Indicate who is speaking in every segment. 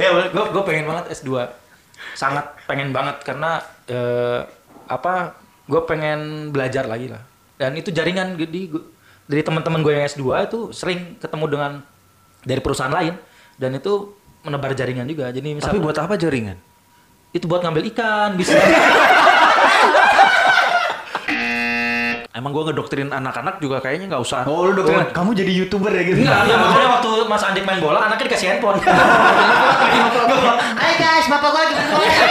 Speaker 1: ya gue gue pengen banget S2 sangat pengen banget karena eh, apa gue pengen belajar lagi lah dan itu jaringan jadi gua- dari teman-teman gue yang S2 itu sering ketemu dengan dari perusahaan lain dan itu menebar jaringan juga jadi
Speaker 2: Tapi
Speaker 1: misalnya
Speaker 2: buat apa jaringan?
Speaker 1: itu buat ngambil ikan bisa
Speaker 2: Emang gua ngedoktrin anak-anak juga kayaknya nggak usah.
Speaker 3: Oh lu dokter, kamu jadi youtuber ya gitu?
Speaker 1: enggak ya, makanya waktu Mas Andik main bola anaknya dikasih handphone
Speaker 4: Hai guys, bapak gua lagi berkeluarga.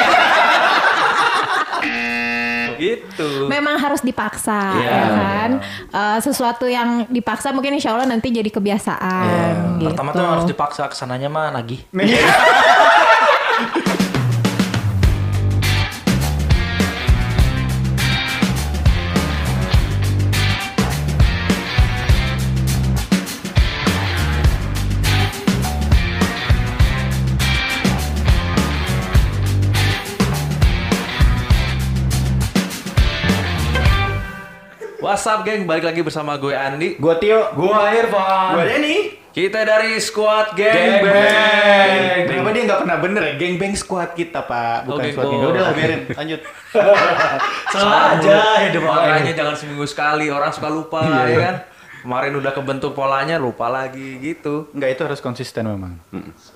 Speaker 2: Gitu.
Speaker 5: Memang harus dipaksa, ya kan? Eh, sesuatu yang dipaksa mungkin insya Allah nanti jadi kebiasaan.
Speaker 2: Iya.
Speaker 5: Gitu.
Speaker 1: pertama tuh harus dipaksa kesananya mah nagih
Speaker 2: What's up geng, balik lagi bersama gue Andi.
Speaker 3: Gua Tio,
Speaker 1: gua Irfan
Speaker 3: gua Denny.
Speaker 2: Kita dari squad
Speaker 3: Geng
Speaker 2: geng.
Speaker 3: bang. Kenapa dia nggak pernah bener ya? Geng bang squad kita pak, bukan
Speaker 2: Oke,
Speaker 3: squad
Speaker 2: gua-
Speaker 3: kita. Udah lah biarin, lanjut.
Speaker 1: salah aja hidup orang
Speaker 2: Makanya jangan seminggu sekali, orang suka
Speaker 3: Iya,
Speaker 2: lupa ya kan. Kemarin udah kebentuk polanya, lupa lagi gitu.
Speaker 3: Enggak itu harus konsisten memang.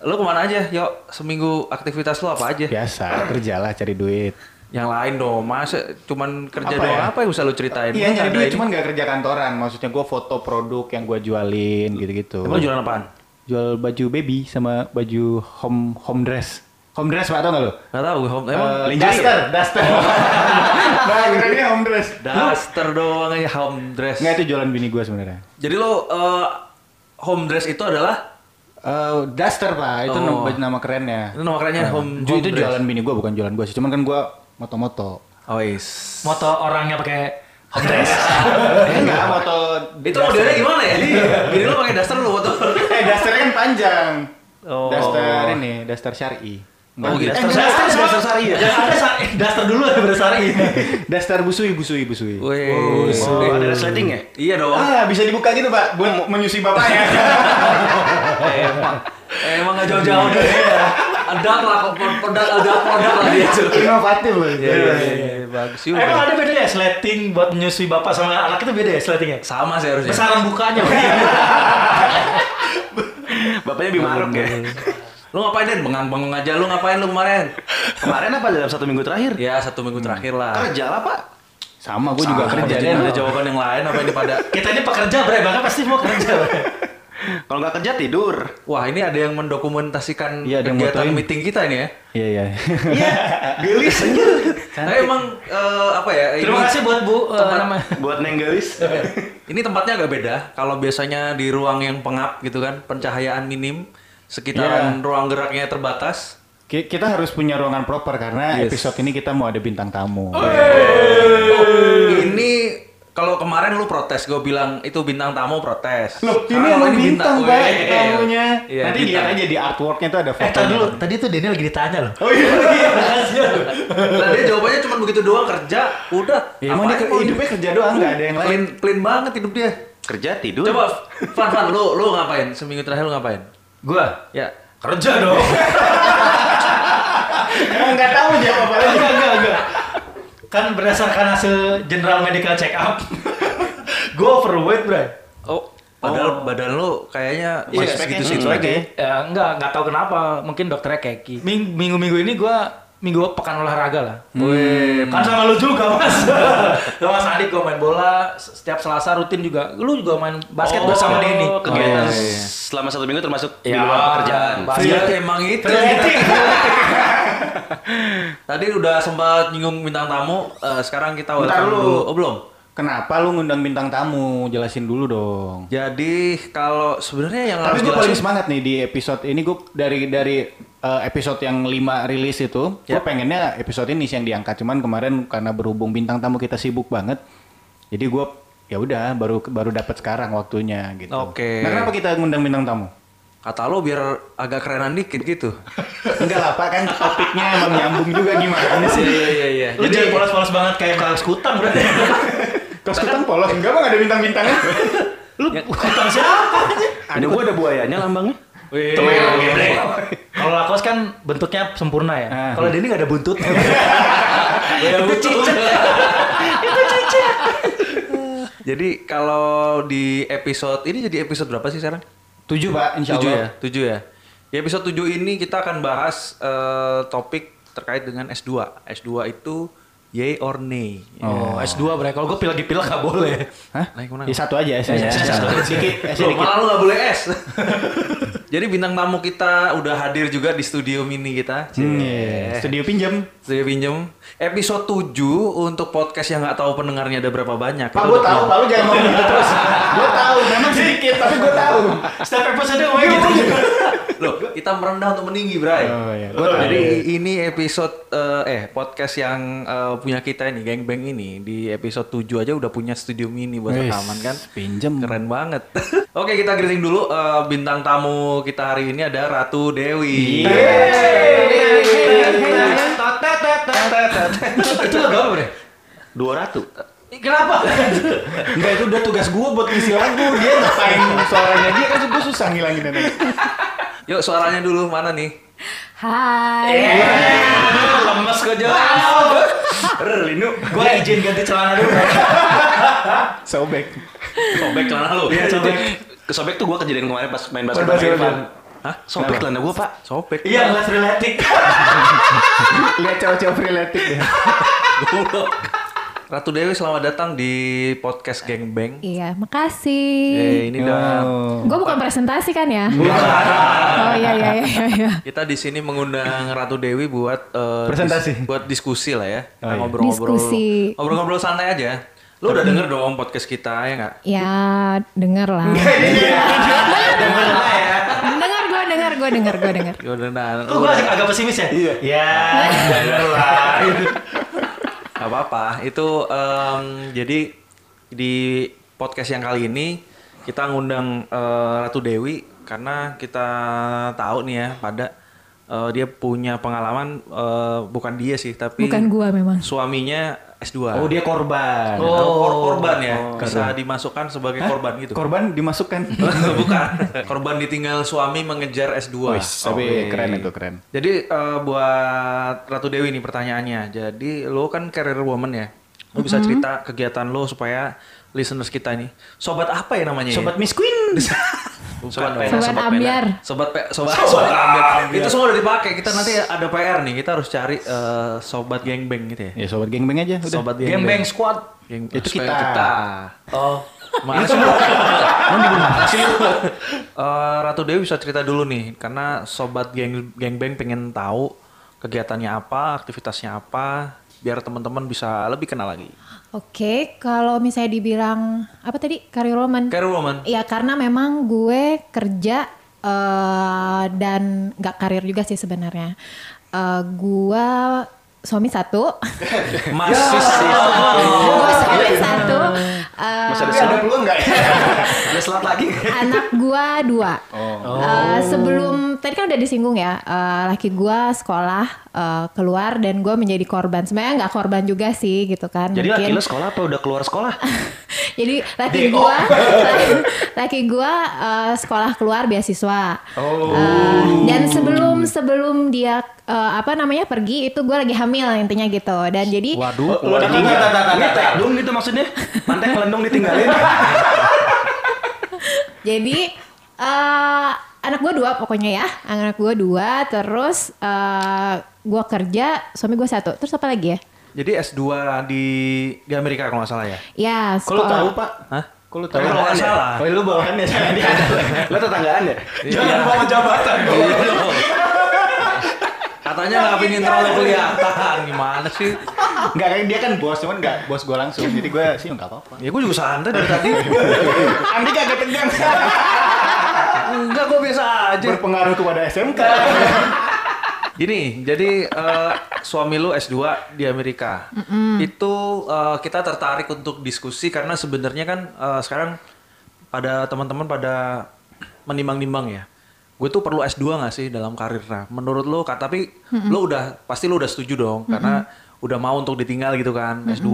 Speaker 2: Lo kemana aja? Yuk, seminggu aktivitas lo apa
Speaker 3: Ya.
Speaker 2: aja?
Speaker 3: Biasa, kerjalah cari duit.
Speaker 2: Yang lain dong, masa cuman kerja
Speaker 3: Apa
Speaker 2: doang
Speaker 3: ya?
Speaker 2: apa yang bisa lo ceritain?
Speaker 3: Iya nyari
Speaker 2: Ada
Speaker 3: duit,
Speaker 2: ini.
Speaker 3: cuman nggak kerja kantoran. Maksudnya gua foto produk yang gua jualin gitu-gitu.
Speaker 2: Emang lo jualan apaan?
Speaker 3: Jual baju baby sama baju home home dress. Home dress pak tau nggak lu?
Speaker 2: Gak tau gue, Hom. emang
Speaker 3: Eh,
Speaker 2: lingerie
Speaker 3: duster,
Speaker 2: ya?
Speaker 3: duster. Nah, kerennya home dress.
Speaker 2: Duster doang aja, home dress.
Speaker 3: Enggak itu jualan bini gua sebenarnya.
Speaker 2: Jadi lo eh, home dress itu adalah
Speaker 3: Eh, duster pak, itu
Speaker 2: Oh.
Speaker 3: nama, nama kerennya. Nah,
Speaker 2: Itu nama kerennya home,
Speaker 3: Ju,
Speaker 2: home
Speaker 3: itu
Speaker 2: dress.
Speaker 3: jualan bini gue bukan jualan gue sih. Cuman kan gue moto-moto.
Speaker 2: Oh, is.
Speaker 1: moto orangnya pakai home dress
Speaker 3: Eh, enggak, moto.
Speaker 2: Itu modelnya gimana ya? Jadi bini lo pakai daster lo foto.
Speaker 3: Eh, dasternya kan panjang.
Speaker 2: Oh.
Speaker 3: Daster ini, daster syari. Enggak.
Speaker 2: Oh, gitu.
Speaker 3: Eh,
Speaker 2: Daster
Speaker 3: enggak,
Speaker 2: syari,
Speaker 3: ada.
Speaker 2: daster syari ya?
Speaker 1: jangan ada iya. sa- daster dulu daripada sari
Speaker 3: Daster busui, busui, busui.
Speaker 2: Wih.
Speaker 1: Oh,
Speaker 2: Eh,
Speaker 1: ada resleting ya?
Speaker 2: Iya dong.
Speaker 3: Ah, bisa dibuka gitu, Pak. Gue menyusui bapaknya.
Speaker 2: emang emang gak jauh-jauh dari ya. Ada lah kok produk ada produk lah dia. cuy.
Speaker 3: Inovatif loh.
Speaker 2: Iya, iya, iya, bagus
Speaker 1: Emang
Speaker 2: juga.
Speaker 1: ada beda ya sleting buat menyusui bapak sama anak itu beda ya sletingnya?
Speaker 2: Sama sih harusnya.
Speaker 1: Besaran bukanya.
Speaker 3: Bapaknya bimaruk ya.
Speaker 2: Iya. Lu ngapain Den? Bengang-bengang aja lu ngapain lu kemarin?
Speaker 3: Kemarin apa dalam satu minggu terakhir?
Speaker 2: Ya satu minggu terakhir lah.
Speaker 3: Kerja lah, Pak. Sama, gue juga kerja.
Speaker 2: Jadi
Speaker 3: Den.
Speaker 2: ada jawaban yang lain apa ini pada
Speaker 1: Kita ini pekerja bre, bahkan pasti mau kerja. Bre.
Speaker 3: Kalau nggak kerja tidur.
Speaker 2: Wah ini ada yang mendokumentasikan
Speaker 3: Iya, ada yang
Speaker 2: kegiatan
Speaker 3: motoin.
Speaker 2: meeting kita nih ya.
Speaker 3: Iya, iya.
Speaker 2: Gelis aja. Tapi emang eh, apa ya? Ini,
Speaker 1: Terima kasih buat Bu eh,
Speaker 2: Tempat-
Speaker 1: nama-
Speaker 3: Buat nenggelis.
Speaker 2: Ini tempatnya agak beda. Kalau biasanya di ruang yang pengap gitu kan, pencahayaan minim, sekitaran
Speaker 3: Iya.
Speaker 2: ruang geraknya terbatas.
Speaker 3: Ki- Kita harus punya ruangan proper karena episode ini kita mau ada bintang tamu.
Speaker 2: Oh, Ini kalau kemarin lu protes, gue bilang itu bintang tamu protes.
Speaker 3: Loh, ini
Speaker 2: Kalau
Speaker 3: yang bintang,
Speaker 2: weh.
Speaker 3: Pak, tamunya.
Speaker 2: Oh, Iya,
Speaker 3: Nanti lihat aja di artworknya tuh ada
Speaker 1: Eh,
Speaker 3: foto.
Speaker 1: tadi dulu. Tadi tuh Denny lagi ditanya loh.
Speaker 3: Oh iya.
Speaker 2: Lah dia jawabannya cuma begitu doang kerja, udah.
Speaker 3: Ya, emang dia
Speaker 2: Apaan
Speaker 3: ke-
Speaker 2: mau
Speaker 3: hidupnya kerja doang nggak ada yang lain.
Speaker 2: Clean, clean banget hidup dia.
Speaker 6: kerja tidur
Speaker 2: Coba, Fan, Fan, lu, lu ngapain? Seminggu terakhir lu ngapain?
Speaker 1: Gua
Speaker 2: Ya,
Speaker 1: kerja dong.
Speaker 3: Emang nggak tahu dia apa lagi.
Speaker 1: enggak, enggak, enggak. Kan berdasarkan hasil general medical check up, gue overweight bre.
Speaker 2: Oh, padahal badan lu kayaknya
Speaker 3: Iya,
Speaker 2: masih
Speaker 3: speknya
Speaker 2: segitu-segitu
Speaker 3: segitu
Speaker 2: aja.
Speaker 3: aja.
Speaker 1: Ya, enggak, enggak tahu kenapa. Mungkin dokternya gitu. keki. Ming- Minggu-minggu ini gua minggu pekan olahraga lah.
Speaker 2: Wih,
Speaker 1: Kan sama lu juga mas Sama Mas Adik gue main bola se- Setiap selasa rutin juga Lu juga main basket
Speaker 2: Oh,
Speaker 1: bersama Denny
Speaker 6: Oh, kegiatan
Speaker 3: Oh, iya, iya.
Speaker 6: selama satu minggu termasuk di
Speaker 1: Ya,
Speaker 6: luar pekerjaan
Speaker 1: basket.
Speaker 2: emang itu.
Speaker 1: Ternyata-
Speaker 2: Tadi udah sempat nyinggung bintang tamu, eh, sekarang kita
Speaker 3: Bentar
Speaker 2: welcome
Speaker 3: dulu.
Speaker 2: Oh, belum.
Speaker 3: Kenapa lu ngundang bintang tamu? Jelasin dulu dong.
Speaker 2: Jadi kalau sebenarnya yang
Speaker 3: Tapi
Speaker 2: harus Nah,
Speaker 3: gue
Speaker 2: jelasin-
Speaker 3: paling semangat nih di episode ini gue dari dari uh, episode yang 5 rilis itu, gue pengennya episode ini sih yang diangkat. Cuman kemarin karena berhubung bintang tamu kita sibuk banget, jadi gue ya udah baru baru dapat sekarang waktunya gitu.
Speaker 2: Oke.
Speaker 3: Nah, kenapa kita ngundang bintang tamu?
Speaker 2: kata lo biar agak kerenan dikit gitu.
Speaker 3: Enggak lah pak kan topiknya emang nyambung juga gimana sih?
Speaker 2: Iya iya iya.
Speaker 1: Lu jadi polos-polos banget kayak kelas kutang berarti
Speaker 3: Kos kutang polos enggak bang ada bintang bintangnya?
Speaker 2: Ya.
Speaker 1: Lu kutang siapa?
Speaker 6: ada gua ada buayanya lambangnya
Speaker 2: Wih.
Speaker 1: Temen, geblek. Iya. Kalau lakos kan bentuknya sempurna ya.
Speaker 3: Ah.
Speaker 1: Kalau Denny nggak ada buntut. itu cicit. itu cicit.
Speaker 2: Jadi kalau di episode ini jadi episode berapa sih sekarang?
Speaker 3: Tujuh pak, insya
Speaker 2: Tujuh ya,
Speaker 3: Allah.
Speaker 2: tujuh ya. Di episode 7 ini kita akan bahas eh, topik terkait dengan S2. S2 itu yay or nay.
Speaker 1: Oh, S2 bre. Kalau gue pilih-pilih nggak boleh.
Speaker 3: Hah?
Speaker 2: Naik Iya, mana?
Speaker 3: Ya, satu aja esnya. Sedikit, esnya
Speaker 2: Loh,
Speaker 3: dikit.
Speaker 2: malah lu gak boleh S. Jadi bintang tamu kita udah hadir juga di studio mini kita.
Speaker 3: Hmm, iya. Studio pinjam.
Speaker 2: Studio pinjem. Episode 7 untuk podcast yang nggak tahu pendengarnya ada berapa banyak.
Speaker 3: Pak,
Speaker 2: Itu
Speaker 3: gue
Speaker 2: udah
Speaker 3: tahu,
Speaker 2: tahu.
Speaker 3: Pak, lu jangan ngomong gitu terus. Gue tahu, memang sedikit, tapi gue tahu.
Speaker 1: Setiap episode gue gitu.
Speaker 2: Loh, kita merendah untuk meninggi, Bray.
Speaker 3: Oh, iya. Gua tahu.
Speaker 2: Jadi ini episode eh, eh podcast yang eh, punya kita ini, Gang Bang ini di episode 7 aja udah punya studio mini buat
Speaker 3: Wis,
Speaker 2: rekaman kan.
Speaker 3: pinjem.
Speaker 2: Keren banget. Oke, kita greeting dulu eh, bintang tamu kita hari ini ada Ratu Dewi.
Speaker 3: Iya.
Speaker 1: Itu lagu apa bre?
Speaker 6: Dua ratu.
Speaker 2: Kenapa?
Speaker 3: Enggak, itu udah tugas gue buat ngisi lagu. Dia ngapain suaranya dia, kan gue susah ngilangin nenek.
Speaker 2: Yuk suaranya dulu mana nih?
Speaker 5: Hai.
Speaker 1: Lemes kok jalan.
Speaker 6: Linu.
Speaker 1: Gue izin ganti celana dulu. Iya,
Speaker 3: Sobek.
Speaker 6: Sobek celana lu.
Speaker 1: Iya, sobek.
Speaker 6: Kesobek tuh gua kejadian kemarin pas main basket.
Speaker 3: Main basket,
Speaker 6: sama Irfan.
Speaker 3: Irfan.
Speaker 6: Hah? Sobek celana gua, Pak.
Speaker 2: Sobek.
Speaker 1: nggak relatik.
Speaker 3: Lihat cowok-cowok freeletik deh.
Speaker 2: Goblok. Ratu Dewi selamat datang di podcast Gang Bang.
Speaker 5: Iya, makasih.
Speaker 2: Eh, ini
Speaker 3: Oh.
Speaker 2: udah
Speaker 5: Gue bukan presentasi kan ya? oh iya iya iya iya, iya.
Speaker 2: Kita di sini mengundang Ratu Dewi buat eh,
Speaker 3: Presentasi.
Speaker 2: dis- buat diskusi lah ya. Kita
Speaker 3: Oh, iya.
Speaker 2: ngobrol-ngobrol.
Speaker 5: Diskusi.
Speaker 2: Ngobrol-ngobrol santai aja. Lu udah denger dong podcast kita ya nggak?
Speaker 5: Ya denger lah.
Speaker 2: Denger lah ya.
Speaker 5: denger gue denger gue denger gue denger.
Speaker 2: Ya udah, nah,
Speaker 1: Kok
Speaker 5: Oh.
Speaker 1: gue agak pesimis ya? Iya. Ya, denger lah.
Speaker 2: Gak apa-apa. Itu em, jadi di podcast yang kali ini kita ngundang eh, Ratu Dewi karena kita tahu nih ya pada eh, dia punya pengalaman eh, bukan dia sih tapi
Speaker 5: Bukan gue memang.
Speaker 2: suaminya S2.
Speaker 3: Oh, dia korban.
Speaker 2: Oh, kor- korban ya.
Speaker 3: Oh,
Speaker 2: Bisa dimasukkan sebagai korban gitu.
Speaker 3: Korban dimasukkan.
Speaker 2: Bukan. Korban ditinggal suami mengejar S2.
Speaker 3: Wih, Oh, iya, tapi keren itu, keren.
Speaker 2: Jadi eh, buat Ratu Dewi nih pertanyaannya. Jadi lo kan career woman ya. Lo bisa cerita kegiatan lo supaya listeners kita nih. Sobat apa ya namanya? ya?
Speaker 3: Sobat Miss Queen.
Speaker 2: sobat pena,
Speaker 5: Sobat ambiar.
Speaker 2: Sobat pe- sobat sobat
Speaker 3: Ah,
Speaker 2: ambiar.
Speaker 3: iya.
Speaker 2: Itu semua udah dipakai. Kita nanti ada PR nih. Kita harus cari eh, sobat gengbeng gitu ya.
Speaker 3: Ya sobat gengbeng aja udah.
Speaker 2: Sobat
Speaker 1: Game Bang
Speaker 2: gengbeng.
Speaker 1: Squad.
Speaker 2: Geng-
Speaker 3: Itu
Speaker 2: supaya
Speaker 3: kita.
Speaker 2: Oh, maaf. Eh, Ratu Dewi bisa cerita dulu nih, karena sobat geng gengbeng pengen tahu kegiatannya apa, aktivitasnya apa, biar teman-teman bisa lebih kenal lagi.
Speaker 5: Oke, kalau misalnya dibilang apa tadi karir woman?
Speaker 2: Career woman.
Speaker 5: Ya karena memang gue kerja eh, dan gak karir juga sih sebenarnya. Eh, gue suami satu,
Speaker 2: Masih sih.
Speaker 6: Oh.
Speaker 5: gue suami
Speaker 6: Iya.
Speaker 5: satu, eh,
Speaker 3: Masih ada ada peluang enggak ya?
Speaker 2: Ada slot lagi.
Speaker 5: anak gue dua.
Speaker 6: Oh.
Speaker 5: Eh, sebelum tadi kan udah disinggung ya, eh, laki gue sekolah eh, keluar dan gue menjadi korban. Sebenarnya nggak korban juga sih gitu kan.
Speaker 6: Jadi laki
Speaker 5: Mungkin-
Speaker 6: lu sekolah apa udah keluar sekolah?
Speaker 5: Jadi laki gua, laki gua eh, sekolah keluar beasiswa. Eh, dan sebelum sebelum dia eh, apa namanya pergi itu gua lagi hamil intinya gitu. Dan jadi
Speaker 1: Waduh,
Speaker 6: oh,
Speaker 1: lo udah tinggal. Ini tekdung gitu maksudnya. Pantai kelendung ditinggalin.
Speaker 5: jadi eh, anak gua dua pokoknya ya, anak gua dua. Terus eh, gua kerja, suami gua satu. Terus apa lagi ya?
Speaker 2: Jadi S2 di di Amerika kalau nggak salah ya.
Speaker 5: Ya
Speaker 3: Kalau
Speaker 5: sekolah.
Speaker 3: tahu Pak.
Speaker 2: Hah?
Speaker 3: Kalau tahu.
Speaker 2: Tapi kalau nggak Iya. salah.
Speaker 3: Kalau lu bawahan ya jangan dia. Lu tetanggaan ya?
Speaker 1: Iya.
Speaker 2: Jangan bawa jabatan. Katanya nggak pingin terlalu kelihatan. Gimana sih?
Speaker 3: Enggak kan dia kan bos, cuman enggak bos gue langsung. Jadi gue sih enggak apa-apa.
Speaker 2: Ya gue juga santai dari tadi.
Speaker 3: Andi kagak tegang.
Speaker 2: Enggak, gue biasa aja.
Speaker 3: Berpengaruh kepada SMK.
Speaker 2: Gini, jadi eh, suami lu S2 di Amerika. Itu eh, kita tertarik untuk diskusi karena sebenarnya kan eh, sekarang pada teman-teman pada menimbang-nimbang ya. Gue tuh perlu S2 gak sih dalam karir? Nah, menurut lu, Kak, tapi lu udah pasti lu udah setuju dong karena udah mau untuk ditinggal gitu kan. S2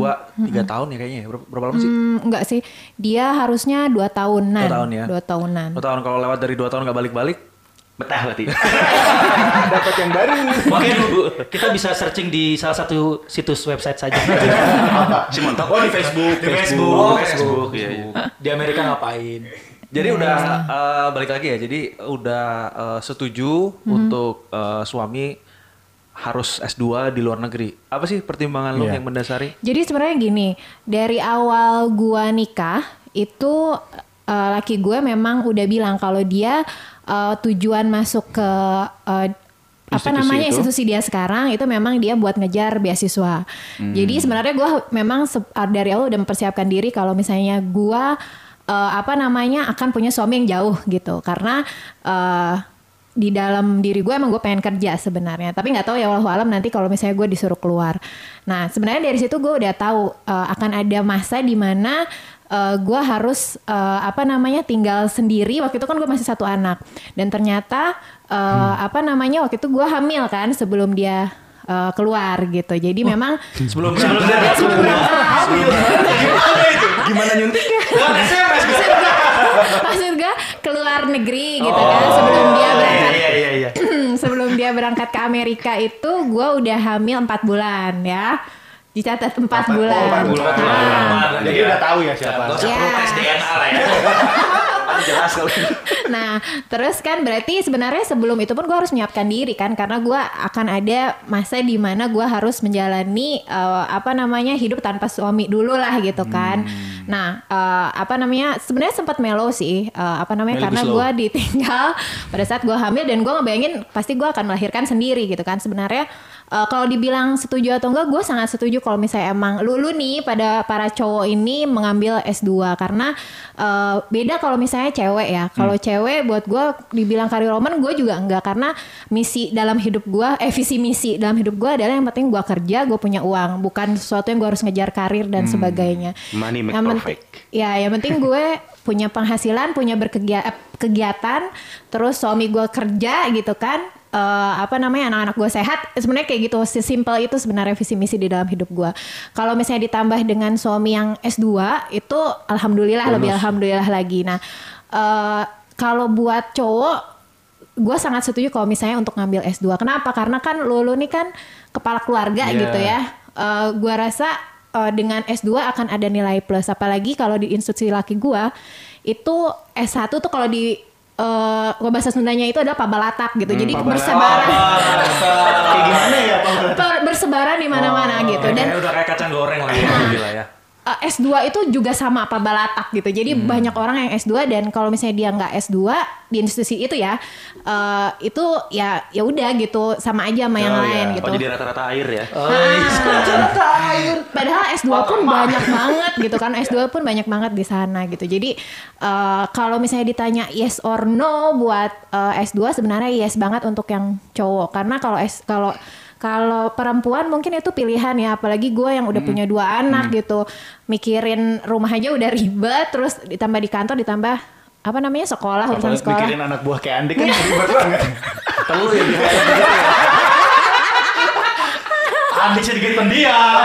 Speaker 2: tiga tahun ya kayaknya ya. Berapa, berapa lama sih?
Speaker 5: Hmm, enggak sih, dia harusnya dua tahunan.
Speaker 2: Dua tahun ya.
Speaker 5: Dua tahunan.
Speaker 2: Dua tahun kalau lewat dari dua tahun gak balik-balik
Speaker 6: Betah berarti.
Speaker 3: Dapat yang baru.
Speaker 1: Mungkin kita bisa searching di salah satu situs website saja.
Speaker 6: Si Montok. Oh di Facebook.
Speaker 1: Di Facebook.
Speaker 2: Oh,
Speaker 1: Facebook.
Speaker 2: Facebook, iya, iya.
Speaker 1: Di Amerika ngapain?
Speaker 2: Jadi udah eh, balik lagi ya. Jadi udah eh, setuju untuk eh, suami harus S2 di luar negeri. Apa sih pertimbangan lu yang mendasari?
Speaker 5: Jadi sebenarnya gini, dari awal gua nikah itu eh, laki gue memang udah bilang kalau dia eh, tujuan masuk ke eh, apa
Speaker 3: Institusi
Speaker 5: namanya
Speaker 3: itu.
Speaker 5: institusi dia sekarang itu memang dia buat ngejar beasiswa.
Speaker 3: Hmm.
Speaker 5: Jadi sebenarnya gua memang se- eh, dari awal udah mempersiapkan diri kalau misalnya gua eh, apa namanya akan punya suami yang jauh gitu karena eh, di dalam diri gue emang gue pengen kerja sebenarnya tapi nggak tahu ya walau alam nanti kalau misalnya gue disuruh keluar nah sebenarnya dari situ gue udah tahu eh, akan ada masa di mana eh, gue harus eh, apa namanya tinggal sendiri waktu itu kan gue masih satu anak dan ternyata eh, apa namanya waktu itu gue hamil kan sebelum dia eh, keluar gitu jadi memang
Speaker 1: Sebelum sebelum
Speaker 5: sebelum berangkat
Speaker 6: Gimana nyuntiknya?
Speaker 5: maksud gue keluar negeri gitu kan sebelum dia berangkat
Speaker 6: Iya iya iya.
Speaker 5: Hmm, sebelum dia berangkat ke Amerika itu gue udah hamil 4 bulan ya dicatat 4 bulan.
Speaker 3: bulan.
Speaker 5: Nah,
Speaker 3: Jadi udah tahu ya siapa.
Speaker 6: Gak usah
Speaker 5: Iya.
Speaker 6: perlu tes DNA lah ya. Gitu. Jelas kalau
Speaker 5: nah terus kan berarti sebenarnya sebelum itu pun gue harus menyiapkan diri kan karena gue akan ada masa di mana gue harus menjalani eh, apa namanya hidup tanpa suami dulu lah gitu kan nah eh, apa namanya sebenarnya sempat melo sih eh, apa
Speaker 3: Melo
Speaker 5: namanya karena
Speaker 3: Guslow.
Speaker 5: gue ditinggal pada saat gue hamil dan gue ngebayangin pasti gue akan melahirkan sendiri gitu kan sebenarnya eh, kalau dibilang setuju atau enggak gue sangat setuju kalau misalnya emang lu, lu nih pada para cowok ini mengambil S2 karena eh, beda kalau misalnya cewek ya kalau
Speaker 6: Hmm.
Speaker 5: cewek buat gue dibilang karir roman gue juga enggak karena misi dalam hidup gue eh visi misi dalam hidup gue adalah yang penting gue kerja gue punya uang bukan sesuatu yang gue harus ngejar karir dan sebagainya
Speaker 6: Hmm. Money make
Speaker 5: Yang penting-
Speaker 6: perfect.
Speaker 5: Ya, yang penting gue punya penghasilan, punya berkegiatan, kegiatan, terus suami gue kerja gitu kan. Eh, apa namanya anak-anak gue sehat sebenarnya kayak gitu sesimpel itu sebenarnya visi misi di dalam hidup gue kalau misalnya ditambah dengan suami yang S2 itu alhamdulillah lebih alhamdulillah lagi nah eh, kalau buat cowok gue sangat setuju kalau misalnya untuk ngambil S2. Kenapa? Karena kan Lulu nih kan kepala keluarga gitu ya. Eh gue rasa eh, dengan S2 akan ada nilai plus. Apalagi kalau di institusi laki gue itu S1 tuh kalau di eh gua bahasa Sundanya itu adalah pabalatak gitu. Jadi bersebaran
Speaker 3: Kayak gimana ya Pak?
Speaker 5: per- bersebaran di mana-mana gitu. Dan
Speaker 2: Kayaknya udah kayak kacang goreng lah ya. Gila ya.
Speaker 5: Eh, S2 itu juga sama apa balatak gitu. Jadi
Speaker 6: Hmm.
Speaker 5: banyak orang yang S2 dan kalau misalnya dia nggak S2 di institusi itu ya eh, itu ya ya udah gitu sama aja sama yang lain gitu.
Speaker 6: Oh, jadi rata-rata air ya.
Speaker 5: Padahal S2 pun banyak banget gitu kan. S2 pun banyak banget di sana gitu. Jadi eh, kalau misalnya ditanya yes or no buat eh, S2 sebenarnya yes banget untuk yang cowok karena kalau S kalau kalau perempuan mungkin itu pilihan ya, apalagi gue yang udah punya dua anak gitu, mikirin rumah aja udah ribet, terus ditambah di kantor, ditambah apa namanya sekolah urusan
Speaker 3: Apalagi
Speaker 5: sekolah.
Speaker 3: mikirin anak buah kayak Andi kan ribet banget.
Speaker 2: Perlu ya di
Speaker 1: gitu
Speaker 3: Andi sedikit pendiam.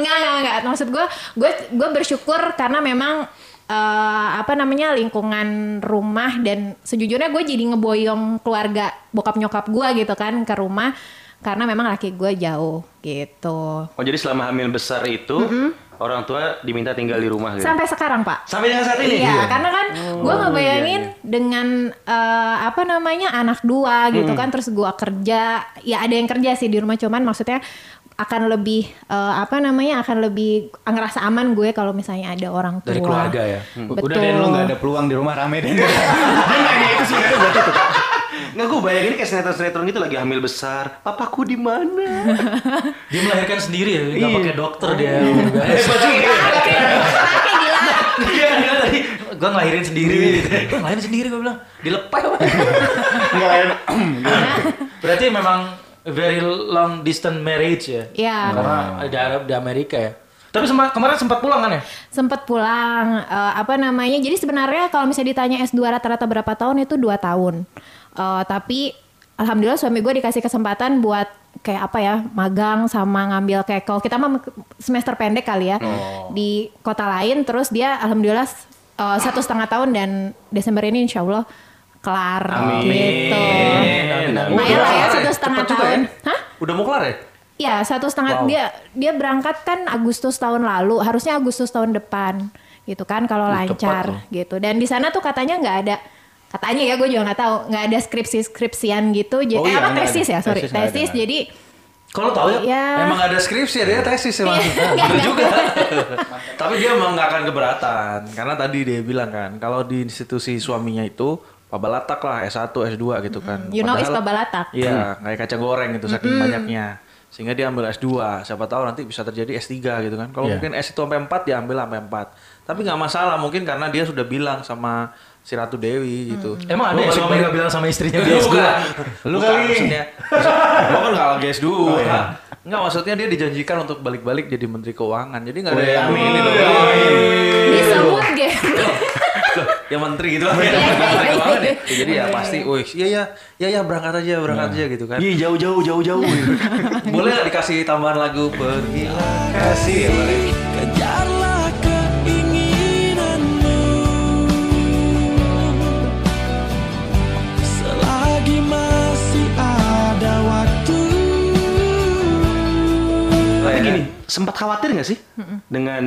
Speaker 5: Enggak, enggak, enggak. Maksud gue, gue, gue bersyukur karena memang eh, apa namanya lingkungan rumah dan sejujurnya gue jadi ngeboyong keluarga bokap nyokap gue gitu kan ke rumah karena memang laki gue jauh gitu.
Speaker 6: Oh jadi selama hamil besar itu orang tua diminta tinggal di rumah gitu.
Speaker 5: Mm-hmm. Sampai sekarang pak.
Speaker 6: Sampai dengan saat ini.
Speaker 5: Iya, karena kan gue ngebayangin dengan eh, apa namanya anak dua gitu kan, terus gue kerja, ya ada yang kerja sih di rumah, cuman maksudnya akan lebih eh, apa namanya akan lebih ngerasa aman gue kalau misalnya ada orang tua Hmm.
Speaker 1: Dari keluarga ya.
Speaker 3: Udah deh lu
Speaker 5: Betul.
Speaker 3: nggak ada peluang di rumah rame deh. Dia nanya itu sebenarnya buat itu. Kak.
Speaker 6: Nggak gue bayangin kayak sinetron-sinetron itu lagi hamil besar. Papaku di mana?
Speaker 1: Dia melahirkan sendiri ya, nggak pakai dokter dia.
Speaker 3: Iya.
Speaker 1: Iya, dia tadi gue ngelahirin sendiri.
Speaker 3: Iya.
Speaker 1: Gue ngelahirin sendiri gue bilang dilepeh.
Speaker 3: Nggak ada.
Speaker 1: Berarti memang very long distance marriage ya.
Speaker 5: Iya.
Speaker 1: Karena di Arab di Amerika ya. Tapi sempat- kemarin sempat pulang kan ya?
Speaker 5: sempet pulang eh, apa namanya jadi sebenarnya kalau misalnya ditanya S2 rata-rata berapa tahun itu dua tahun Eh, tapi alhamdulillah suami gue dikasih kesempatan buat kayak apa ya magang sama ngambil kayak kalau kita mah semester pendek kali ya
Speaker 2: Oh.
Speaker 5: di kota lain terus dia alhamdulillah eh, satu setengah tahun dan Desember ini insya Allah kelar
Speaker 6: Amin.
Speaker 5: gitu.
Speaker 1: Amin, amin.
Speaker 5: Lumayan lah ya
Speaker 2: Udah.
Speaker 5: satu setengah
Speaker 2: Cepet juga
Speaker 5: tahun.
Speaker 2: ya?
Speaker 5: Hah?
Speaker 2: Udah mau kelar ya?
Speaker 5: Ya satu setengah dia dia berangkat kan Agustus tahun lalu harusnya Agustus tahun depan gitu kan kalau lancar gitu dan di sana tuh katanya nggak ada katanya ya gue juga nggak tahu nggak ada skripsi skripsian gitu jadi
Speaker 3: Oh iya,
Speaker 5: apa
Speaker 3: nggak ada.
Speaker 5: tesis ya sorry
Speaker 3: Tesis
Speaker 5: tesis,
Speaker 3: nggak ada, nggak ada.
Speaker 5: jadi
Speaker 2: Kalau tahu ya,
Speaker 5: Iya.
Speaker 2: emang ada skripsi ada ya tesis emang. Bener juga. Tapi dia emang nggak akan keberatan karena tadi dia bilang kan kalau di institusi suaminya itu pabalatak lah S1 S2 gitu kan.
Speaker 5: you know is
Speaker 2: Padahal-
Speaker 5: pabalatak
Speaker 2: Iya, kayak kacang goreng gitu saking banyaknya. Sehingga dia ambil S2, siapa tahu nanti bisa terjadi S3 gitu kan. Kalau
Speaker 3: Iya.
Speaker 2: mungkin S itu sampai 4 dia ambil sampai 4. Tapi nggak masalah mungkin karena dia sudah bilang sama si Ratu Dewi gitu.
Speaker 1: Emang ada
Speaker 2: Lu
Speaker 1: ya
Speaker 2: kalau
Speaker 1: suami
Speaker 2: mau-
Speaker 1: nggak bilang sama
Speaker 2: Lu
Speaker 1: istrinya dia S2?
Speaker 2: bukan.
Speaker 3: Lu
Speaker 2: Bukan,
Speaker 3: kali.
Speaker 2: maksudnya. Iya. Gua kan nggak lagi S2.
Speaker 3: Oh, iya.
Speaker 2: Enggak, maksudnya dia dijanjikan untuk balik-balik jadi menteri keuangan. Jadi nggak ada
Speaker 3: Wih,
Speaker 2: yang
Speaker 3: Iya, amin.
Speaker 2: ini loh.
Speaker 1: Iya.
Speaker 5: disebut
Speaker 3: Iya,
Speaker 5: game
Speaker 2: Loh, yang menteri gitu lah.
Speaker 5: iya, iya.
Speaker 2: Menteri keuangan ya. Ya, Jadi ya pasti, wih, iya ya, ya ya berangkat aja, berangkat aja gitu kan.
Speaker 6: Iya jauh jauh jauh jauh.
Speaker 2: Boleh nggak dikasih tambahan lagu Pergilah Kasih ya boleh
Speaker 4: Kejarlah keinginanmu Selagi masih ada waktu
Speaker 6: Tapi gini, sempat khawatir nggak sih dengan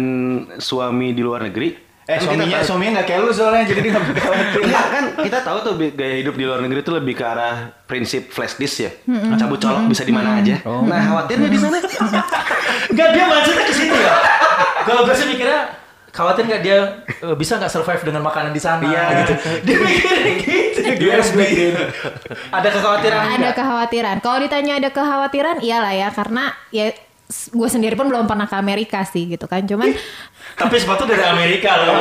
Speaker 6: suami di luar negeri?
Speaker 3: Eh
Speaker 6: Kan kita
Speaker 3: suaminya
Speaker 6: tahu-
Speaker 3: suaminya nggak kayak lu soalnya jadi dia nggak bakal khawatir.
Speaker 6: Enggak kan kita tahu tuh bi- gaya hidup di luar negeri itu lebih ke arah prinsip flash disk ya. Cabut colok bisa di mana aja. Nah, khawatirnya di sana.
Speaker 1: Enggak dia maksudnya ke situ ya. Kalau gue sih mikirnya khawatir nggak dia eh, bisa nggak survive dengan makanan di sana gitu. Dia mikirnya gitu. USB. Ada kekhawatiran
Speaker 5: ada
Speaker 1: nggak?
Speaker 5: kekhawatiran kalau ditanya ada kekhawatiran iyalah ya karena ya s- gue sendiri pun belum pernah ke Amerika sih gitu kan cuman
Speaker 1: Tapi sepatu dari Amerika loh.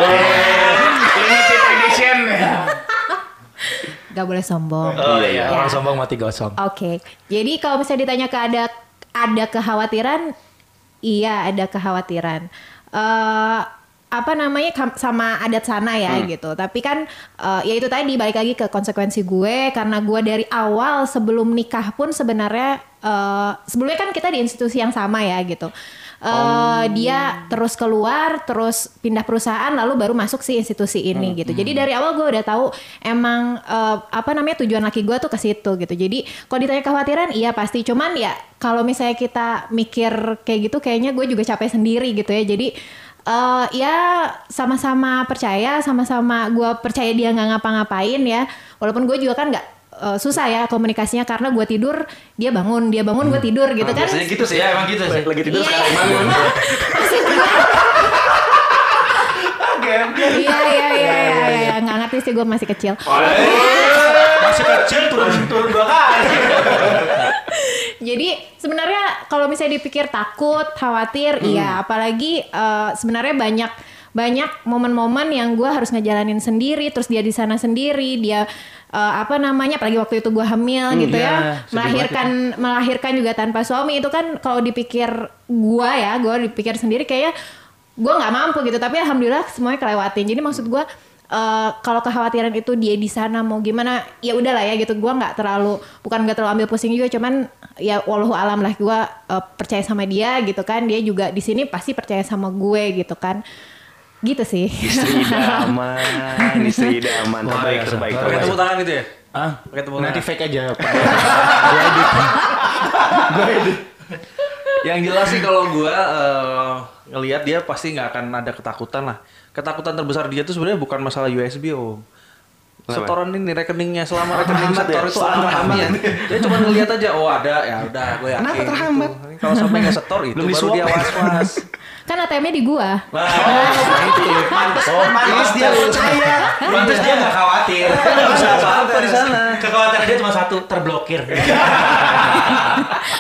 Speaker 3: Limited edition.
Speaker 5: nggak boleh sombong
Speaker 3: Eh,
Speaker 1: Oh
Speaker 5: Ya.
Speaker 1: iya, orang sombong mati gosong.
Speaker 5: Oke, jadi kalau misalnya ditanya ke ada ada kekhawatiran, iya ada kekhawatiran. eh apa namanya kam- sama adat sana ya gitu. Tapi kan eh, ya itu tadi balik lagi ke konsekuensi gue karena gue dari awal sebelum nikah pun sebenarnya eh, sebelumnya kan kita di institusi yang sama ya gitu. Eh, Dia terus keluar, terus pindah perusahaan, lalu baru masuk si institusi ini gitu. Jadi dari awal gue udah tahu emang eh, apa namanya tujuan laki gue tuh ke situ gitu. Jadi kalau ditanya kekhawatiran, iya pasti. Cuman ya kalau misalnya kita mikir kayak gitu, kayaknya gue juga capek sendiri gitu ya. Jadi eh, ya sama-sama percaya, sama-sama gue percaya dia nggak ngapa-ngapain ya. Walaupun gue juga kan nggak eh, susah ya komunikasinya karena gue tidur dia bangun, dia bangun gue tidur gitu kan.
Speaker 6: Biasanya gitu sih ya, emang gitu sih. Lagi tidur
Speaker 5: Iya,
Speaker 6: sekarang
Speaker 5: iya.
Speaker 6: bangun.
Speaker 5: Maksud gue- Iya iya iya iya iya nggak ngerti sih gue masih kecil.
Speaker 1: Masih kecil turun turun dua kali.
Speaker 5: Jadi sebenarnya kalau misalnya dipikir takut, khawatir, iya apalagi eh, sebenarnya banyak banyak momen-momen yang gue harus ngejalanin sendiri, terus dia di sana sendiri, dia eh, apa namanya, apalagi waktu itu gue hamil gitu
Speaker 1: iya,
Speaker 5: ya,
Speaker 1: sedih
Speaker 5: melahirkan Kan melahirkan juga tanpa suami itu kan kalau dipikir gue ya, gue dipikir sendiri kayaknya gue nggak mampu gitu, tapi alhamdulillah semuanya kelewatin. Jadi maksud gue eh, kalau kekhawatiran itu dia di sana mau gimana, ya udahlah ya gitu. Gue nggak terlalu bukan nggak terlalu ambil pusing juga, cuman ya walau alam lah gue eh, percaya sama dia gitu kan, dia juga di sini pasti percaya sama gue gitu kan, gitu sih.
Speaker 6: Istri idaman, istri idaman. Terbaik,
Speaker 1: biasa.
Speaker 6: terbaik,
Speaker 2: Pakai
Speaker 6: terbaik.
Speaker 2: tepuk tangan gitu ya?
Speaker 1: Ah,
Speaker 2: Pakai tepuk
Speaker 1: nanti
Speaker 2: tangan.
Speaker 1: fake aja.
Speaker 2: Yang jelas sih kalau gua eh, ngelihat dia pasti nggak akan ada ketakutan lah. Ketakutan terbesar dia tuh sebenarnya bukan masalah USB om. Setoran ini rekeningnya selama rekening
Speaker 6: terhambat
Speaker 2: setor
Speaker 6: ya?
Speaker 2: itu
Speaker 6: Selama
Speaker 2: aman ya. Dia cuma ngelihat aja, oh ada ya udah gue yakin.
Speaker 6: Kenapa terhambat?
Speaker 2: gitu. Kalau sampai nggak setor itu
Speaker 6: Belum
Speaker 2: baru
Speaker 6: disuap.
Speaker 2: dia was-was.
Speaker 5: Kan ATM-nya di gua.
Speaker 2: Wah, itu pantas. Pantas dia percaya.
Speaker 1: Pantes dia nggak khawatir.
Speaker 2: Nggak bisa apa-apa di sana.
Speaker 1: Kekhawatiran dia cuma satu, terblokir.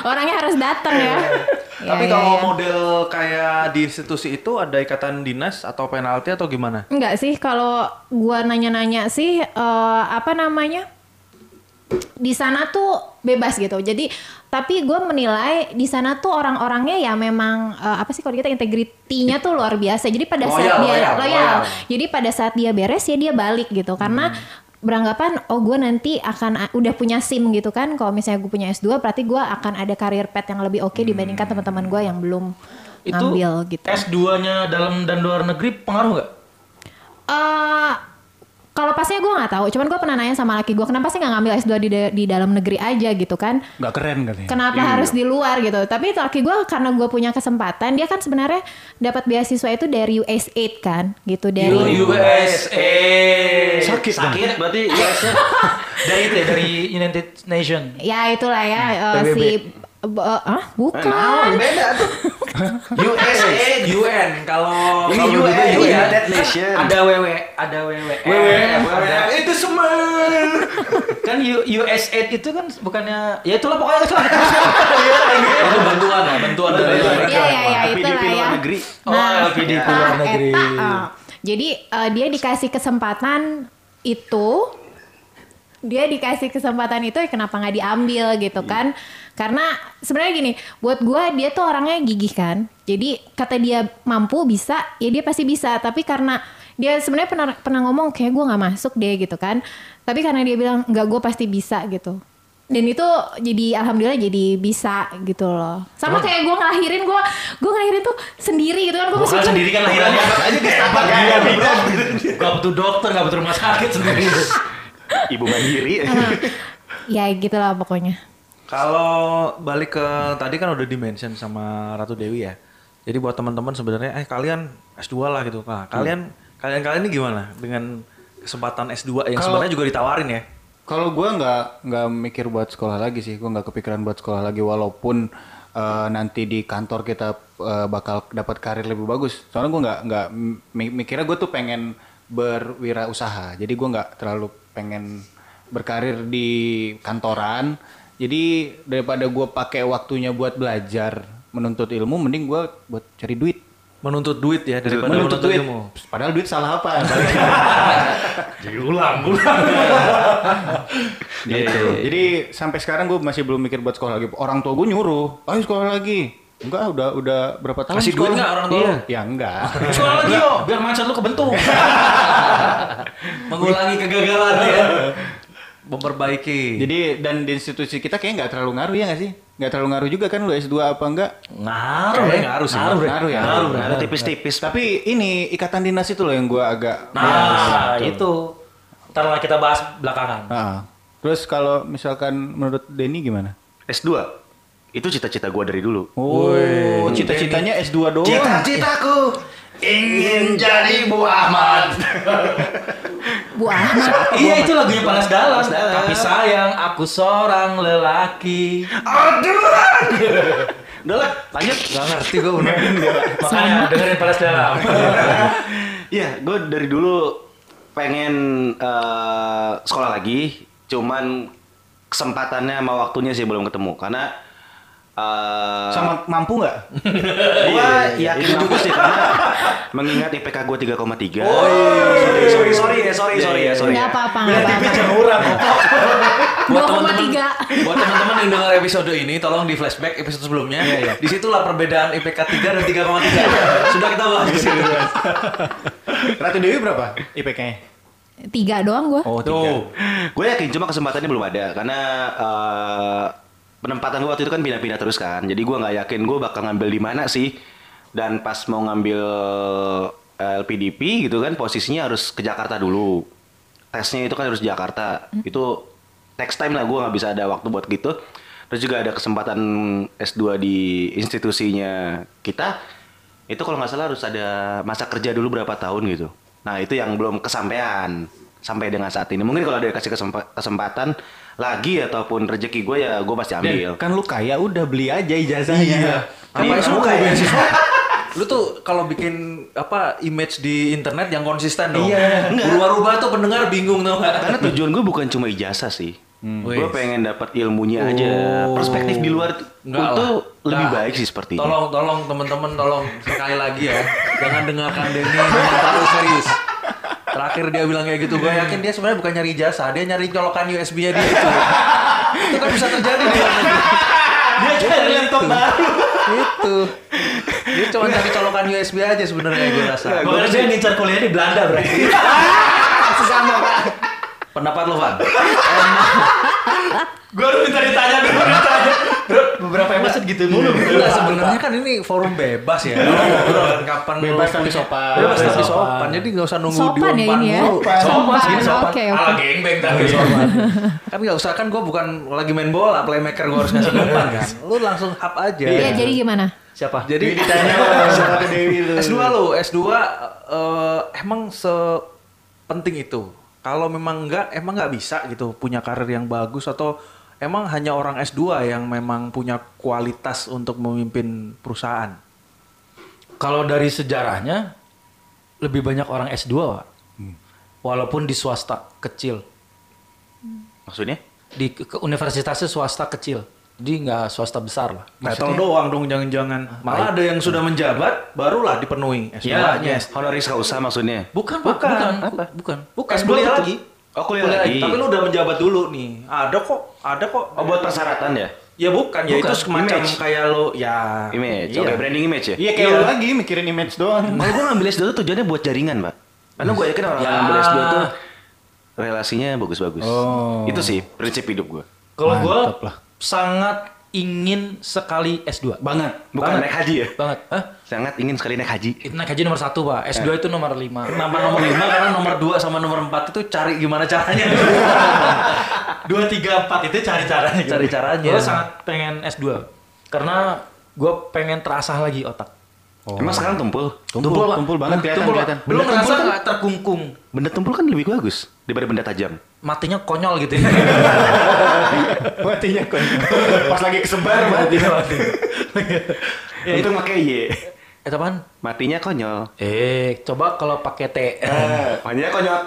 Speaker 5: Orangnya harus datang ya.
Speaker 6: Iya,
Speaker 5: Ya,
Speaker 2: Tapi
Speaker 5: ya,
Speaker 2: kalau
Speaker 5: ya.
Speaker 2: model kayak di institusi itu ada ikatan dinas atau penalti atau gimana?
Speaker 5: Enggak sih, kalau gua nanya-nanya sih eh, apa namanya? Di sana tuh bebas gitu. Jadi tapi gua menilai di sana tuh orang-orangnya ya memang eh, apa sih kalau kita integritinya tuh luar biasa. Jadi pada saat
Speaker 2: Loyal,
Speaker 5: dia
Speaker 2: loyal, loyal.
Speaker 5: Jadi pada saat dia beres ya dia balik gitu karena
Speaker 2: Hmm.
Speaker 5: beranggapan oh gue nanti akan a- udah punya SIM gitu kan kalau misalnya gue punya S2 berarti gue akan ada karir path yang lebih oke
Speaker 2: Hmm.
Speaker 5: dibandingkan teman-teman gue yang belum
Speaker 1: Itu
Speaker 5: ngambil gitu.
Speaker 1: S2-nya dalam dan luar negeri pengaruh nggak?
Speaker 5: Eh, Kalau pasnya gue nggak tahu, cuman gue pernah nanya sama laki gue kenapa sih nggak ngambil S2 di da- di dalam negeri aja gitu kan?
Speaker 3: Nggak keren katanya.
Speaker 5: Kenapa harus di luar gitu? Tapi laki gue karena gue punya kesempatan, dia kan sebenarnya dapat beasiswa itu dari USAID kan, gitu dari
Speaker 1: USA.
Speaker 6: Sakit, Eh, sakit berarti US-nya.
Speaker 1: Dari itu ya, dari United Nation.
Speaker 5: ya itulah ya eh,
Speaker 1: PBB.
Speaker 5: si b- eh, ah bukan.
Speaker 6: Nah, beda tuh. USA.
Speaker 2: UN kalau
Speaker 6: Ini E
Speaker 2: kalau
Speaker 6: UN,
Speaker 2: dulu
Speaker 6: United
Speaker 2: ya,
Speaker 6: Nation.
Speaker 2: Ada WW, ada WW.
Speaker 1: E.
Speaker 6: E. WWF itu semua.
Speaker 1: kan U- USAID itu kan bukannya ya itulah pokoknya itu
Speaker 6: Iya,
Speaker 2: Itu bantuan lah, bantuan dari
Speaker 5: Iya iya iya
Speaker 6: PDP
Speaker 5: itulah
Speaker 6: luar
Speaker 5: ya.
Speaker 6: negeri.
Speaker 1: Oh, LPDP
Speaker 5: eta,
Speaker 1: luar negeri.
Speaker 5: eta, eh. Jadi eh, dia dikasih kesempatan itu dia dikasih kesempatan itu ya kenapa nggak diambil gitu
Speaker 1: Iya.
Speaker 5: kan karena sebenarnya gini buat gua dia tuh orangnya gigih kan jadi kata dia mampu bisa ya dia pasti bisa tapi karena dia sebenarnya pernah pernah ngomong kayak gua nggak masuk deh gitu kan tapi karena dia bilang nggak gue pasti bisa gitu dan itu jadi alhamdulillah jadi bisa gitu loh sama kayak gua ngelahirin gua gua ngelahirin tuh sendiri gitu kan gue
Speaker 1: bukan sendiri kan lahirannya aja Iya, gak butuh dokter gak butuh rumah sakit sendiri
Speaker 6: Ibu mandiri.
Speaker 5: ya gitu lah pokoknya
Speaker 2: Kalau balik ke tadi kan udah dimention sama Ratu Dewi ya. Jadi buat teman-teman sebenarnya eh kalian S2 lah gitu. Nah, kalian kalian kalian ini gimana dengan kesempatan S2 yang sebenarnya juga ditawarin ya?
Speaker 3: Kalau gue nggak nggak mikir buat sekolah lagi sih, gue nggak kepikiran buat sekolah lagi walaupun eh, nanti di kantor kita eh, bakal dapat karir lebih bagus. Soalnya gue nggak nggak mi- mikirnya gue tuh pengen berwirausaha, jadi gue nggak terlalu pengen berkarir di kantoran. Jadi daripada gue pakai waktunya buat belajar menuntut ilmu, mending gue buat cari duit.
Speaker 2: Menuntut duit ya daripada menuntut, ilmu.
Speaker 3: Padahal duit salah apa?
Speaker 1: jadi ulang ulang
Speaker 2: Iya,
Speaker 3: gitu. Jadi sampai sekarang gue masih belum mikir buat sekolah lagi. Orang tua gue nyuruh, ayo sekolah lagi. Enggak, udah udah berapa tahun
Speaker 2: Kasih duit
Speaker 3: sekolah?
Speaker 2: nggak orang tua
Speaker 3: Iya.
Speaker 2: lu?
Speaker 3: Ya enggak.
Speaker 1: soal lagi yo biar macan lu kebentuk
Speaker 2: Mengulangi kegagalan ya. Memperbaiki.
Speaker 3: Jadi dan di institusi kita kayaknya nggak terlalu ngaruh ya nggak sih? Nggak terlalu ngaruh juga kan lu S2 apa enggak?
Speaker 1: ngaruh
Speaker 2: Kayaknya
Speaker 1: ya
Speaker 2: ngaruh sih.
Speaker 1: ngaruh ya
Speaker 3: Ngaruh ya.
Speaker 1: ngaruh
Speaker 6: Ada tipis-tipis.
Speaker 3: Tapi ini ikatan dinas itu loh yang gue agak. ya.
Speaker 1: nah itu ntar lah kita bahas belakangan
Speaker 3: Heeh. Terus kalau misalkan menurut Denny gimana?
Speaker 6: S2. Itu cita-cita gua dari dulu.
Speaker 3: Oh, cita-citanya S2 doang.
Speaker 6: Cita-citaku ingin jadi Bu Ahmad.
Speaker 5: Bu Ahmad
Speaker 1: iya itu lagunya Panas Dalam tapi sayang aku seorang lelaki
Speaker 6: Udah lah, lanjut.
Speaker 2: Gak ngerti gue bener.
Speaker 1: makanya dengerin Panas Dalam
Speaker 6: Iya, gue dari dulu pengen eh, sekolah lagi, cuman kesempatannya sama waktunya sih belum ketemu karena eh,
Speaker 3: Sama mampu nggak?
Speaker 6: gue yakin juga sih karena mengingat IPK gue 3,3.
Speaker 2: Oh,
Speaker 6: iya, sorry sorry sorry
Speaker 2: Iya,
Speaker 6: ya sorry sorry ya
Speaker 1: iya.
Speaker 6: sorry.
Speaker 5: nggak
Speaker 6: ya.
Speaker 5: apa-apa nggak apa-apa
Speaker 2: Buat
Speaker 5: 2,3.
Speaker 2: teman-teman buat teman-teman yang dengar episode ini tolong di flashback episode sebelumnya.
Speaker 6: Iya,
Speaker 2: Disitulah perbedaan IPK 3 dan 3,3. Sudah kita bahas di sini.
Speaker 3: Ratu Dewi berapa IPK-nya?
Speaker 5: tiga doang gua
Speaker 3: Oh,
Speaker 2: Tuh.
Speaker 6: Gue yakin cuma kesempatannya belum ada karena eh, penempatan gue waktu itu kan pindah-pindah terus kan. Jadi gue nggak yakin gue bakal ngambil di mana sih. Dan pas mau ngambil LPDP gitu kan posisinya harus ke Jakarta dulu. Tesnya itu kan harus di Jakarta. Itu next time lah gue nggak bisa ada waktu buat gitu. Terus juga ada kesempatan S2 di institusinya kita. Itu kalau nggak salah harus ada masa kerja dulu berapa tahun gitu. Nah itu yang belum kesampaian sampai dengan saat ini. Mungkin kalau ada kasih kesempa- kesempatan lagi ataupun rezeki gue ya gue pasti
Speaker 3: Dan
Speaker 6: ambil.
Speaker 3: kan lu kaya udah beli aja ijazahnya.
Speaker 2: Apa
Speaker 6: Iya,
Speaker 2: yang
Speaker 6: suka
Speaker 2: suka
Speaker 6: ya?
Speaker 2: ya? Lu tuh kalau bikin apa image di internet yang konsisten dong.
Speaker 3: Iya.
Speaker 2: Berubah-ubah tuh pendengar bingung tau nggak?
Speaker 6: Karena tujuan gue bukan cuma ijazah sih. Gue
Speaker 2: Hmm. Wih.
Speaker 6: pengen dapat ilmunya aja. Perspektif di luar itu
Speaker 2: Nggak lah.
Speaker 6: lebih
Speaker 2: Nggak.
Speaker 6: baik sih sepertinya.
Speaker 2: Tolong, tolong teman-teman, tolong sekali lagi ya, jangan dengarkan Denny dengan terlalu serius. Terakhir dia bilang kayak gitu, gue yakin dia sebenarnya bukan nyari jasa, dia nyari colokan USB-nya dia itu. itu kan bisa terjadi di luar negeri. Dia
Speaker 1: Gitu.
Speaker 2: cari laptop baru. itu. Dia cuma cari colokan USB aja sebenarnya gue rasa.
Speaker 1: Gue dia ngincar kuliah di Belanda berarti
Speaker 2: Sama Pak. Pendapat lo Van?
Speaker 1: Gue harus minta ditanya dulu ditanya. Bro, beberapa episode gitu mulu gitu.
Speaker 2: Enggak, sebenarnya kan ini forum bebas ya. Obrolan Kapan lu-
Speaker 3: Iya. Bebas tapi sopan.
Speaker 2: Bebas tapi
Speaker 1: Sopan.
Speaker 2: sopan. Jadi nggak usah nunggu
Speaker 5: Sopan ya
Speaker 2: diumpan
Speaker 5: ini ya?
Speaker 2: mulu.
Speaker 5: Sopan.
Speaker 2: Sopan, segini sopan.
Speaker 5: Oke, oke.
Speaker 1: Ala gengbeng tapi
Speaker 2: Kan nggak usah kan gue bukan lagi main bola playmaker gue harus ngasih umpan kan. Lu langsung hap aja.
Speaker 5: Iya, jadi gimana?
Speaker 1: Siapa?
Speaker 2: Jadi
Speaker 3: ditanya sama tuh Dewi
Speaker 1: Iya.
Speaker 3: lu.
Speaker 2: S2 lu, S2 eh, emang sepenting itu. Kalau memang enggak, emang nggak bisa gitu punya karir yang bagus atau emang hanya orang S2 yang memang punya kualitas untuk memimpin perusahaan.
Speaker 1: Kalau dari sejarahnya lebih banyak orang S2, Pak. Walaupun di swasta kecil,
Speaker 6: Maksudnya?
Speaker 1: di ke- ke- universitasnya swasta kecil. Jadi nggak swasta besar lah.
Speaker 2: Title doang dong jangan-jangan. Malah Iya, ada yang sudah menjabat barulah dipenuhi
Speaker 6: Ya,
Speaker 2: S2-nya.
Speaker 6: honoris causa maksudnya.
Speaker 1: Bukan, Pak.
Speaker 2: Bukan.
Speaker 1: bukan,
Speaker 2: Apa?
Speaker 1: bukan.
Speaker 2: Bukan
Speaker 6: S2
Speaker 2: kuliah
Speaker 6: tetap.
Speaker 2: lagi.
Speaker 6: Oh, kuliah lagi.
Speaker 2: Tapi lu udah menjabat dulu nih. Ada kok, ada kok.
Speaker 6: Oh, buat persyaratan ya?
Speaker 2: Ya bukan, ya itu
Speaker 6: Bukan.
Speaker 2: semacam
Speaker 6: Image.
Speaker 2: kayak lo ya
Speaker 6: Image.
Speaker 2: Iya.
Speaker 6: Oke, branding image ya?
Speaker 3: Iya kayak lu lagi mikirin image doang.
Speaker 6: Kalau gue ngambil S2 tuh tujuannya buat jaringan, Pak. Karena gue yakin orang yang ngambil S2 tuh relasinya bagus-bagus.
Speaker 3: Oh.
Speaker 6: Itu sih prinsip hidup gue.
Speaker 1: Kalau gue
Speaker 3: Mantap lah.
Speaker 1: sangat ingin sekali S2.
Speaker 3: Banget.
Speaker 6: Bukan
Speaker 1: Banget.
Speaker 6: naik haji ya?
Speaker 1: Banget. Hah?
Speaker 6: Sangat ingin sekali naik haji.
Speaker 1: Naik haji nomor satu, Pak. S2 itu nomor lima.
Speaker 2: Kenapa nomor 5? Karena nomor 2 sama nomor 4 itu cari gimana caranya.
Speaker 1: 2, 3, 4 itu cari caranya.
Speaker 2: Cari caranya.
Speaker 1: Gue sangat pengen S2. Karena gue pengen terasah lagi otak.
Speaker 6: Emang sekarang tumpul?
Speaker 3: Tumpul, tumpul, banget kelihatan
Speaker 1: Tumpul, Pak.
Speaker 3: kelihatan.
Speaker 1: Lu
Speaker 2: Benda
Speaker 1: ngerasa
Speaker 2: tumpul kan-
Speaker 1: nggak terkungkung.
Speaker 6: Benda tumpul kan lebih bagus daripada benda tajam.
Speaker 1: Matinya konyol gitu ya.
Speaker 3: Matinya kan. Pas lagi kesebar mati.
Speaker 6: Untung pakai Y.
Speaker 1: Eh,
Speaker 2: kan,
Speaker 1: teman.
Speaker 6: Matinya konyol.
Speaker 1: Eh, coba kalau pakai T.
Speaker 6: Matinya konyol.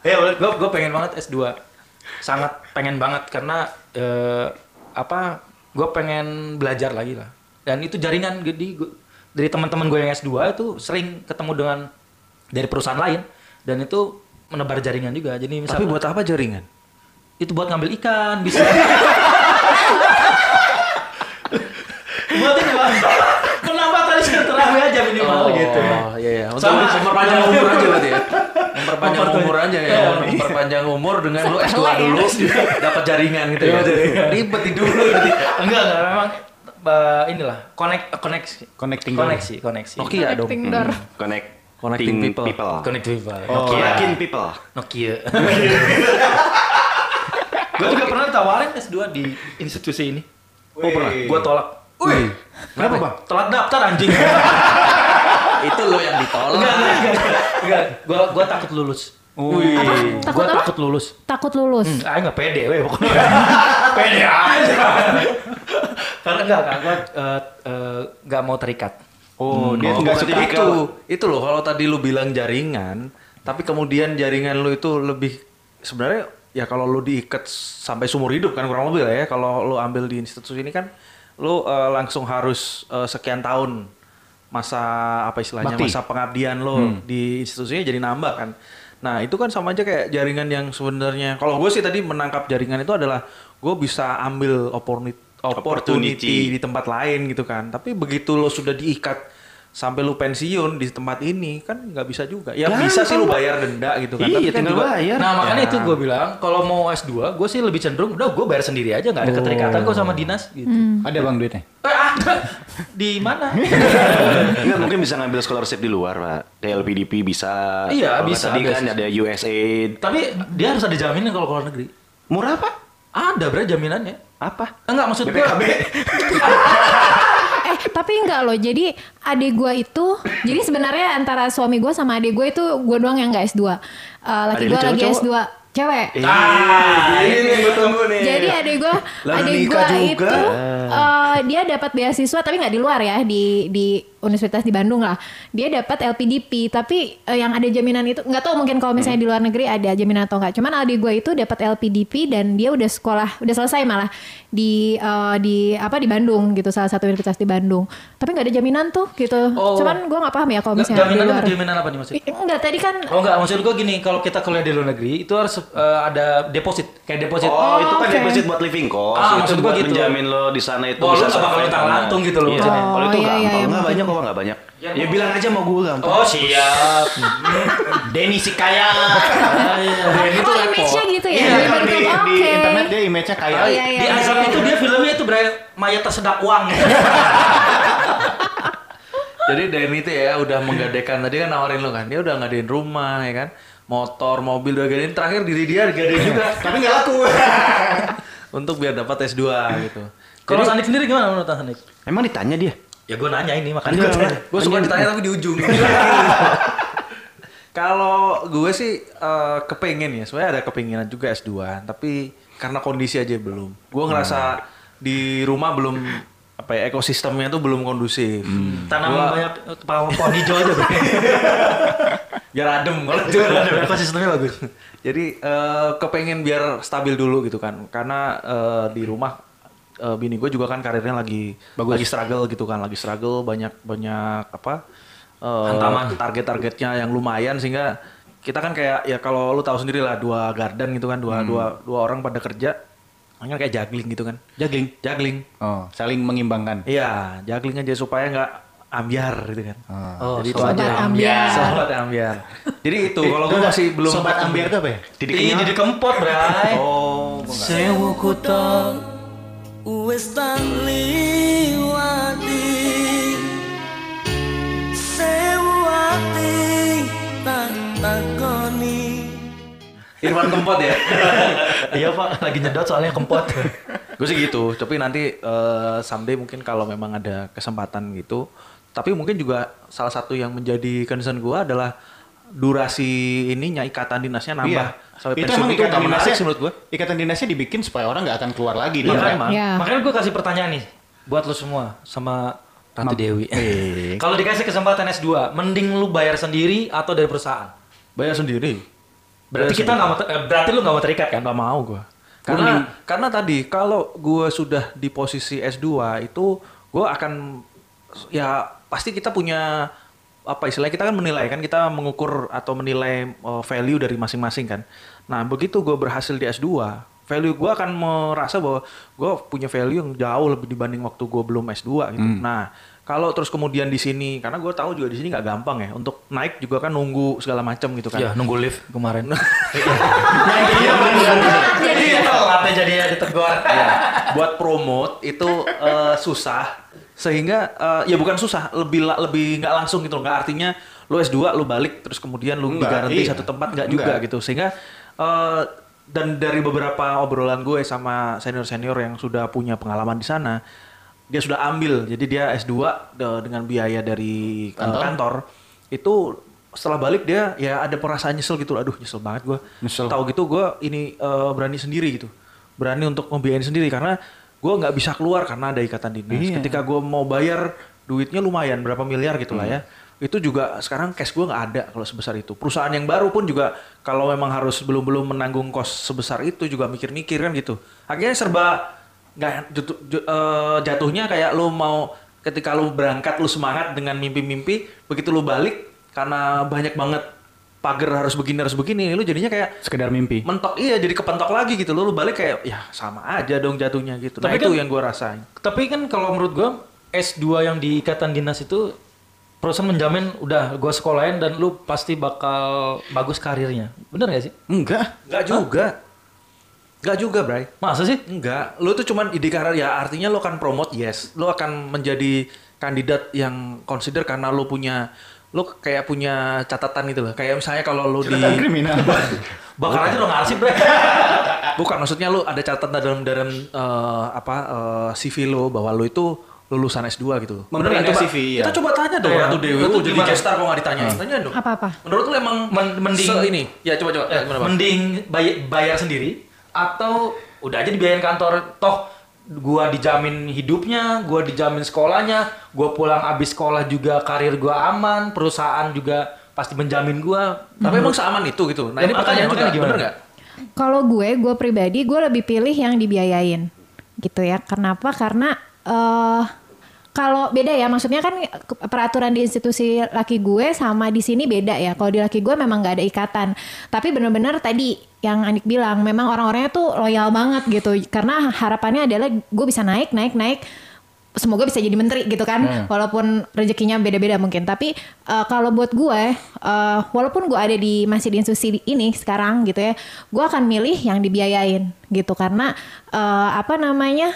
Speaker 1: Ya, gue gue pengen banget S2. Sangat pengen banget karena eh, apa? Gue pengen belajar lagi lah. Dan itu jaringan jadi gua- dari teman-teman gue yang S2 itu sering ketemu dengan dari perusahaan lain dan itu menebar jaringan juga. Jadi
Speaker 2: Tapi
Speaker 1: misalnya
Speaker 2: buat apa jaringan?
Speaker 1: itu buat ngambil ikan bisa. buat ini Bang. Kenapa tadi saya terang aja minimal gitu.
Speaker 2: Oh, iya iya. Untuk
Speaker 1: Sama.
Speaker 2: memperpanjang umur aja berarti ya. Memperpanjang umur aja ya.
Speaker 1: Iya.
Speaker 2: Memperpanjang umur dengan lu S2
Speaker 5: Sepele ya.
Speaker 2: dulu dapat jaringan gitu
Speaker 1: Iya,
Speaker 2: ya. Ribet di dulu gitu.
Speaker 1: Enggak, enggak memang eh, inilah connect koneksi
Speaker 3: Connecting
Speaker 1: koneksi koneksi
Speaker 2: Nokia dong.
Speaker 5: Connecting door.
Speaker 6: Connect.
Speaker 2: Connecting people.
Speaker 1: Connect people.
Speaker 6: Oh,
Speaker 1: Nokia.
Speaker 6: Yakin people.
Speaker 1: Nokia. gue juga pernah ditawarin S2 di institusi ini.
Speaker 3: Oh, pernah.
Speaker 1: Gue tolak. Wih.
Speaker 3: Kenapa, Bang?
Speaker 1: Tolak daftar anjing.
Speaker 2: Itu lu yang ditolak.
Speaker 1: enggak, enggak, enggak. Enggak. Gue gua takut lulus.
Speaker 3: Wih.
Speaker 5: Takut
Speaker 1: Gue
Speaker 5: apa?
Speaker 1: takut lulus.
Speaker 5: Takut lulus.
Speaker 1: Hmm, ayo nggak pede, weh pokoknya. pede aja. Karena enggak, kan gue
Speaker 2: eh,
Speaker 1: nggak mau terikat.
Speaker 3: Oh,
Speaker 2: Hmm.
Speaker 3: dia
Speaker 6: oh,
Speaker 3: enggak
Speaker 6: berarti
Speaker 3: suka
Speaker 6: dia
Speaker 2: itu itu loh kalau tadi lu bilang jaringan tapi kemudian jaringan lu itu lebih sebenarnya ya kalau lu diikat sampai seumur hidup kan kurang lebih lah ya kalau lu ambil di institusi ini kan lu eh, langsung harus eh, sekian tahun masa apa istilahnya
Speaker 3: Bakti.
Speaker 2: masa pengabdian lo di institusinya jadi nambah kan nah itu kan sama aja kayak jaringan yang sebenarnya kalau gue sih tadi menangkap jaringan itu adalah gue bisa ambil opportunity opportunity di tempat lain gitu kan tapi begitu lo sudah diikat sampai lu pensiun di tempat ini kan nggak bisa juga ya bisa sih lu bayar denda gitu kan tapi
Speaker 6: Iya,
Speaker 2: kan
Speaker 6: tinggal
Speaker 2: juga-
Speaker 6: bayar.
Speaker 1: Nah makanya
Speaker 2: Ya.
Speaker 1: itu gue bilang kalau mau S2 gue sih lebih cenderung udah gue bayar sendiri aja nggak ada keterikatan gue sama dinas gitu.
Speaker 5: Hmm.
Speaker 3: Ada Bang duitnya.
Speaker 1: Eh, ada di mana?
Speaker 6: Enggak mungkin bisa ngambil scholarship di luar, Pak. Kayak LPDP bisa.
Speaker 1: Iya,
Speaker 6: Kalau nggak
Speaker 1: bisa,
Speaker 6: Tadi
Speaker 1: ada.
Speaker 6: kan ada USAID.
Speaker 1: Tapi dia harus ada jaminan kalau ke luar negeri.
Speaker 6: Murah, Pak?
Speaker 1: Ada bre jaminannya.
Speaker 6: Apa?
Speaker 1: Enggak maksud gue.
Speaker 5: Eh, tapi enggak loh. Jadi adik gua itu, jadi sebenarnya antara suami gua sama adik gue itu gua doang yang enggak S2. Eh, laki
Speaker 6: Adik lu
Speaker 5: gua lagi
Speaker 6: cowok-cowok?
Speaker 5: S2. Cewek.
Speaker 6: Ah,
Speaker 3: Iya,
Speaker 6: ini gue tunggu nih.
Speaker 5: Jadi adik gue,
Speaker 6: Lalu
Speaker 5: adik
Speaker 6: nikah
Speaker 5: gue
Speaker 6: juga.
Speaker 5: itu eh, dia dapat beasiswa tapi nggak di luar ya di di universitas di Bandung lah. Dia dapat LPDP tapi eh, yang ada jaminan itu nggak tahu mungkin kalau misalnya di luar negeri ada jaminan atau nggak. Cuman adik gue itu dapat LPDP dan dia udah sekolah udah selesai malah di eh, di apa di Bandung gitu salah satu universitas di Bandung. Tapi nggak ada jaminan tuh gitu.
Speaker 1: Oh.
Speaker 5: Cuman gue nggak paham ya kalau misalnya
Speaker 1: Nggak,
Speaker 5: di
Speaker 1: jaminan
Speaker 5: luar.
Speaker 1: jaminan apa nih maksudnya?
Speaker 5: Enggak tadi kan
Speaker 1: Oh enggak maksud gue gini kalau kita kuliah di luar negeri itu harus eh, ada deposit kayak deposit.
Speaker 6: Oh, itu kan
Speaker 5: oke.
Speaker 6: deposit buat living cost.
Speaker 1: Ah,
Speaker 6: itu
Speaker 1: maksud gua
Speaker 6: buat
Speaker 1: gitu.
Speaker 6: menjamin lo di sana itu
Speaker 1: Oh, lu nggak bakal
Speaker 6: survive
Speaker 1: utang
Speaker 6: aman.
Speaker 1: lantung gitu loh
Speaker 6: Iya.
Speaker 1: maksudnya.
Speaker 6: Kalau itu
Speaker 5: Oh, iya, iya,
Speaker 6: gampang.
Speaker 5: iya,
Speaker 6: Enggak
Speaker 5: maksud
Speaker 6: banyak
Speaker 5: gua.
Speaker 6: kok, enggak banyak. Ya bilang aja mau gue gampang.
Speaker 1: Oh siap.
Speaker 3: Denny Sikaya.
Speaker 1: Ah, iya.
Speaker 5: oh, image-nya gitu ya.
Speaker 3: Iya,
Speaker 5: Di
Speaker 3: kalau di,
Speaker 5: bentuk,
Speaker 3: di
Speaker 5: oke.
Speaker 3: internet dia image-nya kayak
Speaker 5: Oh, iya,
Speaker 1: di
Speaker 5: iya,
Speaker 1: azab
Speaker 5: iya,
Speaker 1: itu
Speaker 5: iya.
Speaker 1: dia filmnya itu beraya mayat tersedak uang.
Speaker 2: Jadi Denny itu ya udah menggadaikan tadi kan nawarin lo kan. Dia udah ngadain rumah ya kan. Motor, mobil udah gadein terakhir diri dia gadein juga.
Speaker 3: tapi nggak laku.
Speaker 2: Untuk biar dapat S2 gitu.
Speaker 1: Kalau Sandik sendiri gimana menurut Sandik?
Speaker 6: Emang ditanya dia?
Speaker 1: Ya gue nanya ini
Speaker 6: Iya,
Speaker 1: makanya gue tanya.
Speaker 2: Gue suka ditanya tapi di ujung. Kalau gue sih eh, kepengen ya, sebenarnya ada kepenginan juga S2, tapi karena kondisi aja belum. Gue ngerasa di rumah belum apa ya ekosistemnya tuh belum kondusif.
Speaker 1: Tanam
Speaker 2: Gua-
Speaker 1: banyak eh, pohon pohon hijau aja bro.
Speaker 2: Biar adem kalau di
Speaker 1: Jualan
Speaker 2: rumah.
Speaker 1: ekosistemnya bagus.
Speaker 2: Jadi eh, kepengen biar stabil dulu gitu kan, karena eh, di rumah eh, bini gue juga kan karirnya lagi lagi struggle gitu kan, lagi struggle banyak banyak apa eh,
Speaker 1: Hantaman.
Speaker 2: target-targetnya yang lumayan sehingga kita kan kayak ya kalau lu tahu sendiri lah dua garden gitu kan,
Speaker 1: Hmm.
Speaker 2: dua dua dua orang pada kerja, hanya kayak juggling gitu kan,
Speaker 3: Juggling.
Speaker 2: juggling.
Speaker 3: Oh, saling mengimbangkan.
Speaker 2: Iya, juggling aja supaya nggak ambiar gitu kan.
Speaker 3: Ah.
Speaker 1: Oh,
Speaker 2: Jadi itu
Speaker 1: sobat
Speaker 2: aja.
Speaker 5: ambiar.
Speaker 2: Sobat ambiar. Jadi itu kalau gue
Speaker 3: Itu
Speaker 2: masih belum
Speaker 3: Eh,
Speaker 2: Iya,
Speaker 3: sobat ambiar itu apa ya?
Speaker 1: Ih, jadi kempot bray.
Speaker 2: Oh,
Speaker 4: Sewu kutang Wis tak liwati Sewu ati Tak takoni
Speaker 2: Irfan Kempot ya.
Speaker 1: Iya pak, lagi nyedot soalnya kempot.
Speaker 2: gue sih gitu, tapi nanti eh, someday mungkin kalau memang ada kesempatan gitu, tapi mungkin juga salah satu yang menjadi concern gue adalah durasi ininya ikatan dinasnya nambah sampai
Speaker 3: Iya. itu
Speaker 2: pensiun
Speaker 3: emang
Speaker 2: itu
Speaker 3: ikatan
Speaker 2: nggak menarik
Speaker 3: dinasnya
Speaker 2: sih menurut gue.
Speaker 3: Ikatan dinasnya dibikin supaya orang nggak akan keluar lagi.
Speaker 2: Iya
Speaker 3: dia
Speaker 2: kan,
Speaker 3: nggak-
Speaker 2: Mak?
Speaker 5: Iya.
Speaker 1: Makanya gue kasih pertanyaan nih buat lo semua sama Ratu Dewi. Kalau dikasih kesempatan S2, mending lu bayar sendiri atau dari perusahaan?
Speaker 2: Bayar sendiri.
Speaker 1: Berarti kita nggak mau ter- eh, berarti lu nggak mau terikat kan?
Speaker 2: Nggak mau gue. Karena karena tadi kalau gue sudah di posisi S2 itu gue akan ya pasti kita punya apa istilahnya kita kan menilai kan kita mengukur atau menilai uh, value dari masing-masing kan. Nah begitu gue berhasil di S2 value gue akan merasa bahwa gue punya value yang jauh lebih dibanding waktu gue belum S2 gitu.
Speaker 1: Hmm.
Speaker 2: Nah kalau terus kemudian di sini karena gue tahu juga di sini nggak gampang ya untuk naik juga kan nunggu segala macam gitu kan.
Speaker 1: Ya nunggu lift kemarin.
Speaker 3: Iya,
Speaker 5: Jadi
Speaker 1: Katanya jadi ya ditegur.
Speaker 2: Iya. buat promote itu eh, susah sehingga eh, ya bukan susah lebih la- lebih nggak langsung gitu loh. nggak artinya lu S2 lu balik terus kemudian lu
Speaker 3: Nggak,
Speaker 2: digaranti
Speaker 3: iya.
Speaker 2: satu tempat nggak juga
Speaker 3: Nggak.
Speaker 2: gitu sehingga eh, dan dari beberapa obrolan gue sama senior-senior yang sudah punya pengalaman di sana dia sudah ambil jadi dia S2 de- dengan biaya dari eh, kantor. itu setelah balik dia ya ada perasaan nyesel gitu aduh nyesel banget gue
Speaker 3: Nyesel.
Speaker 2: tahu gitu gue ini eh, berani sendiri gitu berani untuk membiayain sendiri karena gue nggak bisa keluar karena ada ikatan dinas ketika gue mau bayar duitnya lumayan berapa miliar gitu lah ya itu juga sekarang cash gue nggak ada kalau sebesar itu perusahaan yang baru pun juga kalau memang harus belum belum menanggung kos sebesar itu juga mikir-mikir kan gitu akhirnya serba nggak jut- ju- eh, jatuhnya kayak lo mau ketika lo berangkat lo semangat dengan mimpi-mimpi begitu lo balik karena banyak banget pagar harus begini harus begini lo jadinya kayak
Speaker 3: Sekedar mimpi.
Speaker 2: mentok iya jadi kepentok lagi gitu lo lu balik kayak ya sama aja dong jatuhnya gitu nah
Speaker 1: Tapi
Speaker 2: itu
Speaker 1: kan-
Speaker 2: yang gue rasain
Speaker 1: Tapi kan kalau menurut gue S2 yang di ikatan dinas itu perusahaan menjamin udah gue sekolahin dan lu pasti bakal bagus karirnya. Bener gak sih?
Speaker 3: Enggak.
Speaker 2: nggak juga nggak juga Bray
Speaker 1: Masa sih?
Speaker 2: enggak lu tuh cuman ide karir ya artinya lu akan promote yes lu akan menjadi kandidat yang consider karena lu punya lu kayak punya catatan gitu loh kayak misalnya kalau lu di
Speaker 3: kriminal.
Speaker 1: Bakal aja lo ngasih bre.
Speaker 2: bukan maksudnya lu ada catatan dalam dalam eh, apa eh, CV lu bahwa lu itu lulusan S2 gitu loh.
Speaker 3: Memperindah
Speaker 2: Bener nggak? Coba-
Speaker 3: CV, iya.
Speaker 2: Kita coba tanya dong
Speaker 1: Iya.
Speaker 2: Ratu Dewi.
Speaker 1: Lu
Speaker 2: Lu
Speaker 1: tuh
Speaker 2: jadi
Speaker 1: gimana? Hmm.
Speaker 2: gestar kok nggak ditanya? Tanya dong.
Speaker 5: Apa-apa?
Speaker 2: Menurut lu emang
Speaker 1: Men- mending-
Speaker 2: se- ini? Ya coba coba. Ya, gimana, Bang?
Speaker 1: Mending bay- bayar sendiri atau udah aja dibayarin kantor toh gua dijamin hidupnya, gua dijamin sekolahnya, gua pulang abis sekolah juga karir gua aman, perusahaan juga pasti menjamin gua.
Speaker 2: Tapi emang seaman itu gitu. Nah,
Speaker 1: Ya,
Speaker 2: ini
Speaker 1: makanya,
Speaker 2: pertanyaan juga
Speaker 1: makanya gimana?
Speaker 2: bener nggak?
Speaker 5: Kalau gue, gue pribadi, gue lebih pilih yang dibiayain, gitu ya. Kenapa? Karena eh kalau beda ya, maksudnya kan ke- peraturan di institusi laki gue sama di sini beda ya. Kalau di laki gue memang nggak ada ikatan, tapi bener-bener tadi yang Anik bilang, memang orang-orangnya tuh loyal banget gitu. Karena harapannya adalah gue bisa naik, naik, naik semoga bisa jadi menteri gitu kan walaupun rezekinya beda-beda mungkin tapi eh, kalau buat gue eh, walaupun gue ada di masih di institusi di- ini sekarang gitu ya gue akan milih yang dibiayain gitu karena eh, apa namanya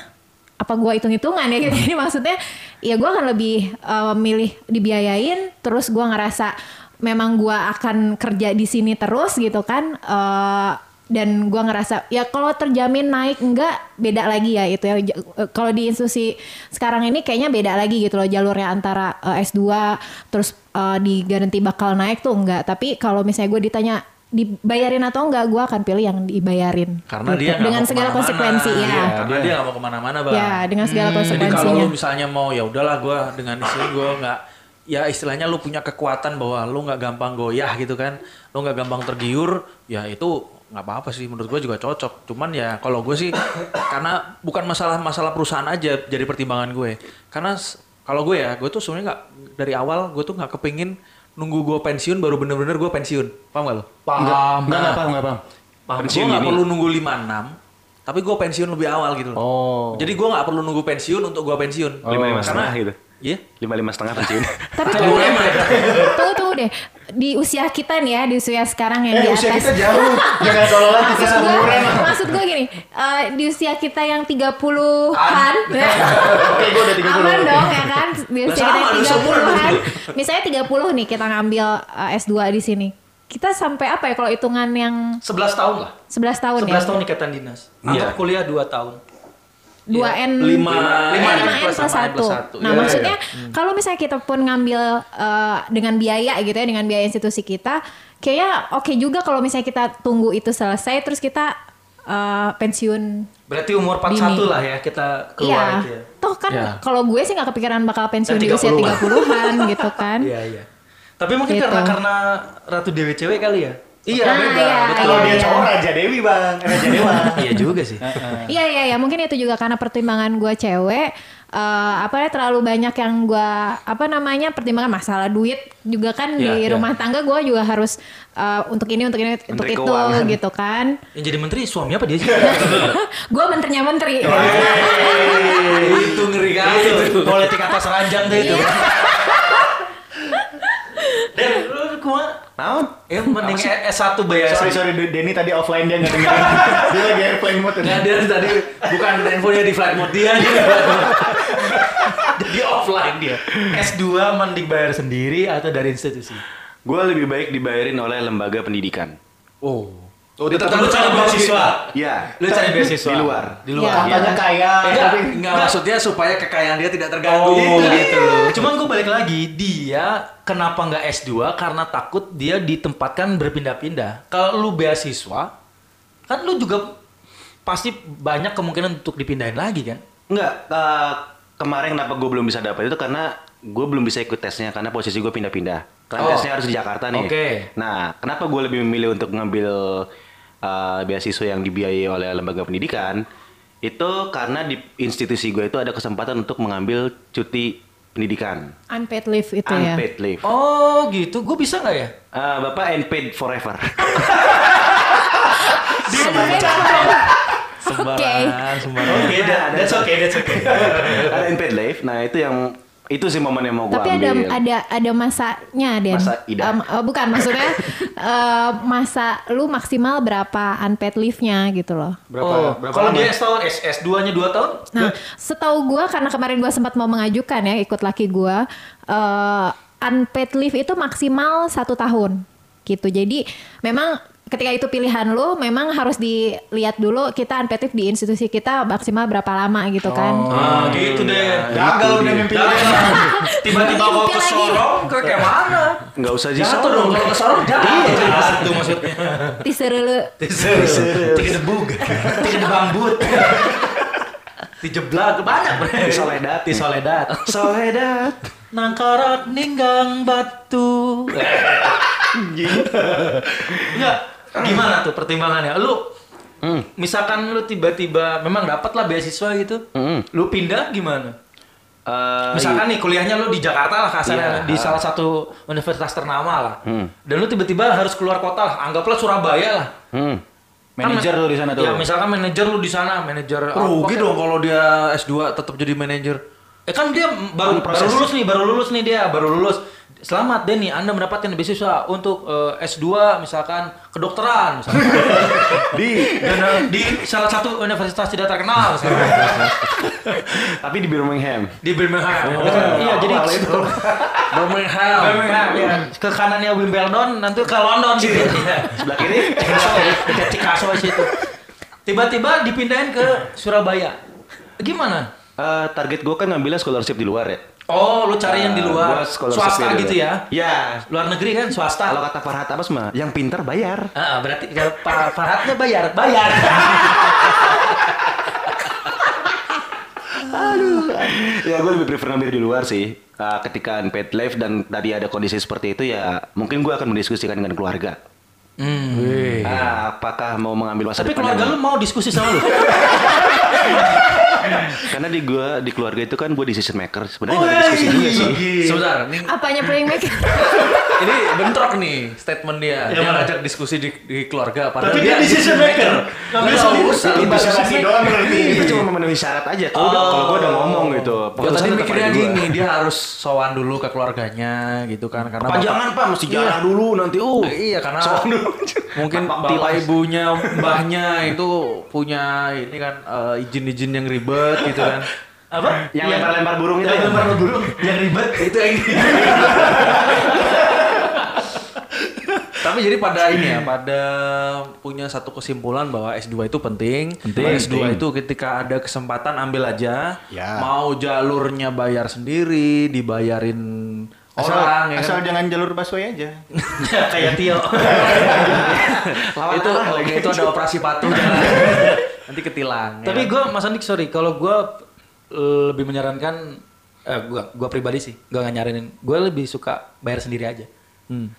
Speaker 5: apa gue hitung-hitungan ya gitu ini maksudnya ya gue akan lebih eh, milih dibiayain terus gue ngerasa memang gue akan kerja di sini terus gitu kan eh, dan gue ngerasa ya kalau terjamin naik enggak beda lagi ya itu ya J- eh, kalau di institusi sekarang ini kayaknya beda lagi gitu loh jalurnya antara eh, S2 terus eh, digaranti bakal naik tuh enggak tapi kalau misalnya gue ditanya dibayarin atau enggak gue akan pilih yang dibayarin
Speaker 2: karena
Speaker 5: Gitu.
Speaker 2: dia nggak
Speaker 5: dengan
Speaker 2: mau
Speaker 5: segala
Speaker 2: kemana-mana.
Speaker 5: konsekuensi ya
Speaker 2: Iya, karena dia nggak mau kemana-mana bang
Speaker 5: Ya, dengan segala
Speaker 2: Hmm. jadi kalau
Speaker 5: konsekuensinya.
Speaker 2: lu misalnya mau ya udahlah gue dengan istri gue nggak ya istilahnya lu punya kekuatan bahwa lu nggak gampang goyah gitu kan lu nggak gampang tergiur ya itu nggak apa-apa sih menurut gue juga cocok cuman ya kalau gue sih karena bukan masalah masalah perusahaan aja jadi pertimbangan gue karena s- kalau gue ya gue tuh sebenarnya nggak dari awal gue tuh nggak kepingin nunggu gue pensiun baru bener-bener gue pensiun paham gak lo?
Speaker 1: paham
Speaker 3: Enggak, enggak paham, enggak paham.
Speaker 2: Paham, gue
Speaker 6: Pensiun
Speaker 2: gak
Speaker 6: dini.
Speaker 2: perlu nunggu 56 tapi gue pensiun lebih awal gitu loh.
Speaker 3: Oh.
Speaker 2: Jadi gue gak perlu nunggu pensiun untuk gue pensiun.
Speaker 6: Lima
Speaker 1: Oh,
Speaker 6: lima setengah gitu.
Speaker 2: Iya.
Speaker 6: Lima lima setengah pensiun.
Speaker 5: Tapi tunggu deh, tunggu tunggu deh. Di usia kita nih ya, di usia sekarang yang di atas.
Speaker 3: jauh. Jangan tolol
Speaker 5: maksud gue, maksud gue gini, eh, di usia kita yang 30-an.
Speaker 3: Oke, gue udah 30.
Speaker 5: Aman dong ya kan? Di
Speaker 2: Lah,
Speaker 5: usia
Speaker 2: sama,
Speaker 5: kita
Speaker 2: udah
Speaker 5: 30-an. Misalnya 30 nih kita ngambil eh, S2 di sini. Kita sampai apa ya kalau hitungan yang
Speaker 1: 11 tahun lah
Speaker 5: 11 tahun
Speaker 1: 11
Speaker 5: ya?
Speaker 1: tahun ikatan dinas
Speaker 2: Iya.
Speaker 1: Angkat kuliah 2 tahun
Speaker 5: 2N
Speaker 2: Lima- lima N
Speaker 5: lima N
Speaker 2: plus
Speaker 5: plus
Speaker 2: sama N plus
Speaker 5: satu.
Speaker 2: satu.
Speaker 5: Nah
Speaker 2: Iya,
Speaker 5: maksudnya kalau misalnya kita pun ngambil eh, dengan biaya gitu ya dengan biaya institusi kita, kayaknya oke juga kalau misalnya kita tunggu itu selesai terus kita eh, pensiun.
Speaker 1: Berarti umur 41
Speaker 5: Dini.
Speaker 1: lah ya kita
Speaker 5: Iya,
Speaker 1: keluar itu ya
Speaker 5: toh kan
Speaker 2: Iya.
Speaker 5: kalau gue sih nggak kepikiran bakal pensiun
Speaker 1: Dan
Speaker 5: di usia
Speaker 1: 30-an.
Speaker 5: 30-an gitu kan.
Speaker 1: Iya iya. Tapi mungkin
Speaker 5: Gitu.
Speaker 1: karena karena Ratu Dewi cewek kali ya. Iya
Speaker 5: Ah,
Speaker 1: beda.
Speaker 5: iya,
Speaker 1: betul.
Speaker 3: Kalau
Speaker 5: iya,
Speaker 3: dia
Speaker 5: iya.
Speaker 3: cowok Raja Dewi, Bang. Raja Dewa.
Speaker 1: Iya juga sih.
Speaker 2: Eh,
Speaker 6: Eh.
Speaker 5: Iya iya iya mungkin itu juga karena pertimbangan gue cewek eh apa ya terlalu banyak yang gue apa namanya pertimbangan masalah duit juga kan
Speaker 2: Iya,
Speaker 5: di
Speaker 2: iya.
Speaker 5: rumah tangga gue juga harus eh, untuk ini untuk ini untuk
Speaker 6: Menteri
Speaker 5: itu
Speaker 6: keuangan.
Speaker 5: gitu kan
Speaker 1: Yang jadi menteri suami apa dia sih?
Speaker 5: gue menterinya menteri
Speaker 6: Oh, iya,
Speaker 2: Iya, itu ngeri kali itu.
Speaker 1: Iya,
Speaker 2: Iya.
Speaker 1: Politik atas ranjang deh itu. Dan lu kuma
Speaker 6: Naon?
Speaker 1: ya mending S1 bayar.
Speaker 3: Sorry, sorry. Denny tadi offline dia nggak dengerin. dia lagi airplane mode.
Speaker 2: Nah, dia tadi bukan handphonenya di flight mode dia. dia di flight mode.
Speaker 1: Jadi offline dia. S2 mending bayar sendiri atau dari institusi?
Speaker 6: Gue lebih baik dibayarin oleh lembaga pendidikan.
Speaker 2: Oh.
Speaker 3: Tuh,
Speaker 2: Tetap lu cari beasiswa.
Speaker 6: Ya.
Speaker 1: Lu cari beasiswa
Speaker 6: Di luar.
Speaker 1: Di luar.
Speaker 5: Iya.
Speaker 3: Katanya kaya,
Speaker 2: Enggak,
Speaker 3: tapi
Speaker 2: enggak maksudnya supaya kekayaan dia tidak terganggu
Speaker 1: Oh,
Speaker 2: gitu.
Speaker 1: gitu. Cuman gue balik lagi, dia kenapa nggak S2 karena takut dia ditempatkan berpindah-pindah. Kalau lu beasiswa, kan lu juga pasti banyak kemungkinan untuk dipindahin lagi kan?
Speaker 6: Enggak. eh, kemarin kenapa gue belum bisa dapat itu karena gue belum bisa ikut tesnya karena posisi gue pindah-pindah. Karena
Speaker 1: Oh.
Speaker 6: tesnya harus di Jakarta nih.
Speaker 1: Oke.
Speaker 6: Nah, kenapa gue lebih memilih untuk ngambil eh, beasiswa yang dibiayai oleh lembaga pendidikan? Itu karena di institusi gue itu ada kesempatan untuk mengambil cuti pendidikan.
Speaker 5: unpaid leave itu ya
Speaker 6: Unpaid leave.
Speaker 1: Oh gitu, gue bisa nggak ya?
Speaker 6: Eh, Bapak unpaid forever.
Speaker 5: Unpaid leave. oke
Speaker 2: sembarangan.
Speaker 1: Oke, that- Oh, iya, that's okay, that's okay.
Speaker 6: ada unpaid leave. Nah, itu yang itu sih momen yang mau gue
Speaker 5: tapi ada
Speaker 6: ambil.
Speaker 5: ada ada masanya Den
Speaker 6: Masa idah.
Speaker 5: Em, eh, bukan maksudnya eh, masa lu maksimal berapa unpaid leave-nya gitu loh
Speaker 3: Berapa-
Speaker 1: oh,
Speaker 3: berapa
Speaker 1: kalau
Speaker 3: lama?
Speaker 1: dia S tahun, S S2-nya 2 tahun?
Speaker 5: Nah, setahu gua karena kemarin gua sempat mau mengajukan ya ikut laki gua eh, unpaid leave itu maksimal satu tahun gitu. Jadi memang ketika itu pilihan lo, memang harus dilihat dulu kita unpaid leave di institusi kita maksimal berapa lama gitu kan.
Speaker 1: Ah, gitu deh.
Speaker 3: gagal udah mimpi.
Speaker 1: Tiba-tiba
Speaker 5: Mimpi lagi.
Speaker 1: kok ke Sorong, ke kayak mana?
Speaker 6: Nggak usah
Speaker 2: Jatuh
Speaker 6: disorot.
Speaker 2: dong kalau ke sorong jatuh.
Speaker 1: Jatuh maksudnya.
Speaker 5: Nah, Diserulu.
Speaker 1: Tiga debug, tiga debambut, dijeblak banyak bro.
Speaker 6: Disoledat.
Speaker 1: Disoledat.
Speaker 6: Soledad.
Speaker 1: Nangkarat ninggang batu. Enggak, gimana tuh pertimbangannya? Lu
Speaker 6: Hmm.
Speaker 1: misalkan lu tiba-tiba memang dapatlah beasiswa gitu,
Speaker 6: Mm-mm.
Speaker 1: lu pindah gimana?
Speaker 6: Hmm. Eh,
Speaker 1: Misalkan nih kuliahnya lu di Jakarta lah kasarnya
Speaker 6: Iya.
Speaker 1: di salah satu universitas ternama lah.
Speaker 6: Hmm.
Speaker 1: Dan lu tiba-tiba harus keluar kota lah, anggaplah Surabaya lah.
Speaker 6: hmm.
Speaker 3: Manajer
Speaker 1: Kan-
Speaker 3: lu di sana tuh.
Speaker 1: Ya misalkan manajer lu di sana, manajer
Speaker 2: Rugi
Speaker 1: apa-
Speaker 2: dong kalau dia S2 tetap jadi manajer.
Speaker 1: Eh kan dia baru, baru lulus nih, baru lulus nih dia, baru lulus. Selamat Denny, Anda mendapatkan beasiswa untuk eh, S2 misalkan kedokteran misalkan. di di salah satu universitas tidak terkenal misalkan.
Speaker 6: Tapi di Birmingham.
Speaker 1: di Birmingham. iya, jadi Birmingham. Birmingham. iya. Ke kanannya Wimbledon, nanti ke London gitu. Sebelah kiri Cikaso, dekat Cikaso situ. Tiba-tiba dipindahin ke Surabaya. Gimana?
Speaker 6: Eh, target gue kan ngambilnya scholarship di luar ya.
Speaker 1: Oh, lu cari yang di
Speaker 6: Eh,
Speaker 1: luar,
Speaker 6: gua scholarship
Speaker 1: swasta
Speaker 6: di luar.
Speaker 1: gitu ya?
Speaker 6: Iya.
Speaker 1: Luar negeri kan
Speaker 6: Kalau
Speaker 1: swasta.
Speaker 6: kata Farhat apa mah, yang pintar bayar.
Speaker 1: Ah, berarti kalau Pak Farhatnya bayar, bayar.
Speaker 6: ya gue lebih prefer ngambil di luar sih. Eh, ketika unpaid life dan tadi ada kondisi seperti itu ya mungkin gue akan mendiskusikan dengan keluarga. Ah, apakah mau mengambil masa
Speaker 1: Tapi
Speaker 6: depan yang-
Speaker 1: keluarga lu mau diskusi sama lu?
Speaker 6: Karena di gue di keluarga itu kan gue decision maker. Sebenarnya
Speaker 2: Oh,
Speaker 6: nggak diskusi juga
Speaker 1: iya,
Speaker 6: sih.
Speaker 2: Sebentar, ini,
Speaker 5: Apanya playmaker?
Speaker 2: ini bentrok nih statement dia.
Speaker 1: Yang
Speaker 2: dia
Speaker 1: mana?
Speaker 2: ngajak diskusi di, di keluarga. Padahal
Speaker 1: Tapi dia decision maker. Nggak
Speaker 2: Nggak
Speaker 1: bisa
Speaker 2: usah.
Speaker 1: urusan.
Speaker 2: Dia decision
Speaker 1: iya.
Speaker 3: Basa-basi doang berarti.
Speaker 6: Itu cuma memenuhi syarat aja. Kalau udah kalau gue udah ngomong
Speaker 1: Ya,
Speaker 6: gitu.
Speaker 2: Gua
Speaker 6: Keputusan
Speaker 2: tadi
Speaker 6: tetap
Speaker 2: mikirnya
Speaker 6: ada di gua.
Speaker 2: gini, dia harus sowan dulu ke keluarganya gitu kan karena
Speaker 6: Panjangan pak mesti jalan dulu nanti. Uh,
Speaker 2: bapak- iya karena
Speaker 6: sowan dulu.
Speaker 2: mungkin
Speaker 6: Bapak
Speaker 2: bapak
Speaker 6: tilas.
Speaker 2: ibunya, mbahnya itu punya ini kan eh, izin-izin yang ribet gitu kan.
Speaker 1: Apa?
Speaker 6: Yang lempar-lempar burung itu. ya?
Speaker 1: Yang lempar-lempar burung, yang ribet itu yang
Speaker 2: Tapi jadi pada ini ya, pada punya satu kesimpulan bahwa S2 itu penting. S2 itu ketika ada kesempatan ambil aja.
Speaker 3: Ya.
Speaker 2: Mau jalurnya bayar sendiri, dibayarin
Speaker 3: Asal,
Speaker 2: orang ya kan?
Speaker 3: asal jangan jalur busway aja.
Speaker 1: kayak Tio.
Speaker 2: itu itu ada operasi patuh jangan. ya. Nanti ketilang. ya
Speaker 1: Tapi
Speaker 2: kan?
Speaker 1: gue Mas Andik sorry, kalau gue lebih menyarankan eh gua gua pribadi sih, gua nggak nyaranin. Gue lebih suka bayar sendiri aja.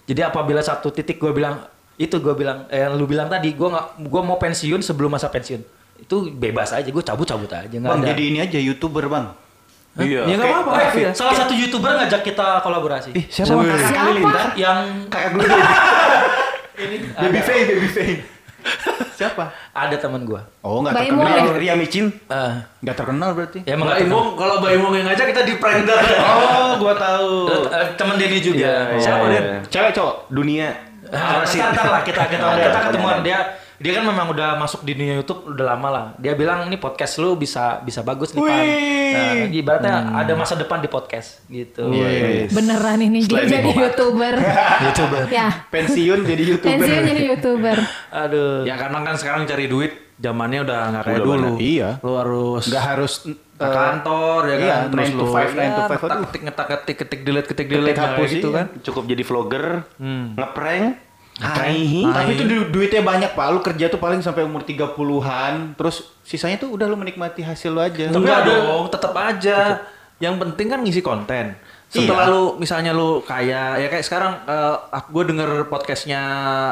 Speaker 1: Jadi apabila satu titik gue bilang itu gue bilang eh, yang lu bilang tadi gue nggak gue mau pensiun sebelum masa pensiun itu bebas aja gue cabut cabut aja nggak
Speaker 3: Bang,
Speaker 1: ada
Speaker 3: jadi ini aja youtuber bang.
Speaker 1: Hah? ya nggak apa-apa Iya. salah satu youtuber ngajak kita kolaborasi
Speaker 6: Siapa? Kakak
Speaker 5: Siapa?
Speaker 6: Halilintar?
Speaker 1: yang
Speaker 6: Kakak gue tuh.
Speaker 3: Baby Faye, Baby Faye. Siapa?
Speaker 1: ada teman gue
Speaker 3: Oh nggak
Speaker 5: Bayi
Speaker 3: terkenal.
Speaker 5: Mulih.
Speaker 6: Ria Micin.
Speaker 1: Eh,
Speaker 3: Nggak terkenal berarti.
Speaker 1: ya
Speaker 2: Mbak
Speaker 1: emang nggak terkenal.
Speaker 2: Imong, kalau Mbak Imong yang ngajak kita di prank dah.
Speaker 6: Oh, gue tahu.
Speaker 1: Eh, temen Denny juga
Speaker 6: Iya,
Speaker 1: siapa
Speaker 6: iya,
Speaker 1: Den?
Speaker 6: iya.
Speaker 3: Cewek cowok.
Speaker 6: Dunia.
Speaker 1: Ah,
Speaker 6: Apa sih?
Speaker 1: ntar- ntar lah kita kita
Speaker 6: Ada,
Speaker 1: kita
Speaker 6: ada,
Speaker 1: ketemuan
Speaker 6: ada.
Speaker 1: dia dia kan memang udah masuk di dunia YouTube udah lama lah. Dia bilang ini podcast lu bisa bisa bagus nih Pan. Nah, ibaratnya ada masa depan di podcast gitu.
Speaker 3: Iya,
Speaker 5: Beneran ini dia jadi youtuber.
Speaker 1: YouTuber.
Speaker 5: ya.
Speaker 3: Pensiun jadi youtuber.
Speaker 5: Pensiun jadi youtuber.
Speaker 1: Aduh.
Speaker 2: Ya karena kan sekarang cari duit zamannya udah nggak kayak
Speaker 6: Udah
Speaker 2: dulu.
Speaker 3: mana? Iya.
Speaker 2: Lu harus
Speaker 3: Nggak harus eh,
Speaker 2: ke kantor ya
Speaker 3: iya,
Speaker 2: kan terus
Speaker 3: 9 to
Speaker 2: lu
Speaker 3: 5, 9 to 5,
Speaker 2: ngetak
Speaker 3: aduh.
Speaker 2: ketik ngetak ketik ketik delete ketik delete nah,
Speaker 3: hapus,
Speaker 2: gitu
Speaker 3: iya.
Speaker 2: kan.
Speaker 6: Cukup jadi vlogger, ngeprank,
Speaker 3: eh,
Speaker 6: Hai.
Speaker 3: tapi itu du- duitnya banyak pak. Lu kerja tuh paling sampai umur 30-an. Terus sisanya tuh udah lu menikmati hasil lu aja.
Speaker 2: Tapi dong, tetap aja. Iya. Yang penting kan ngisi konten. Setelah lu misalnya lu kaya ya kayak sekarang gue denger podcastnya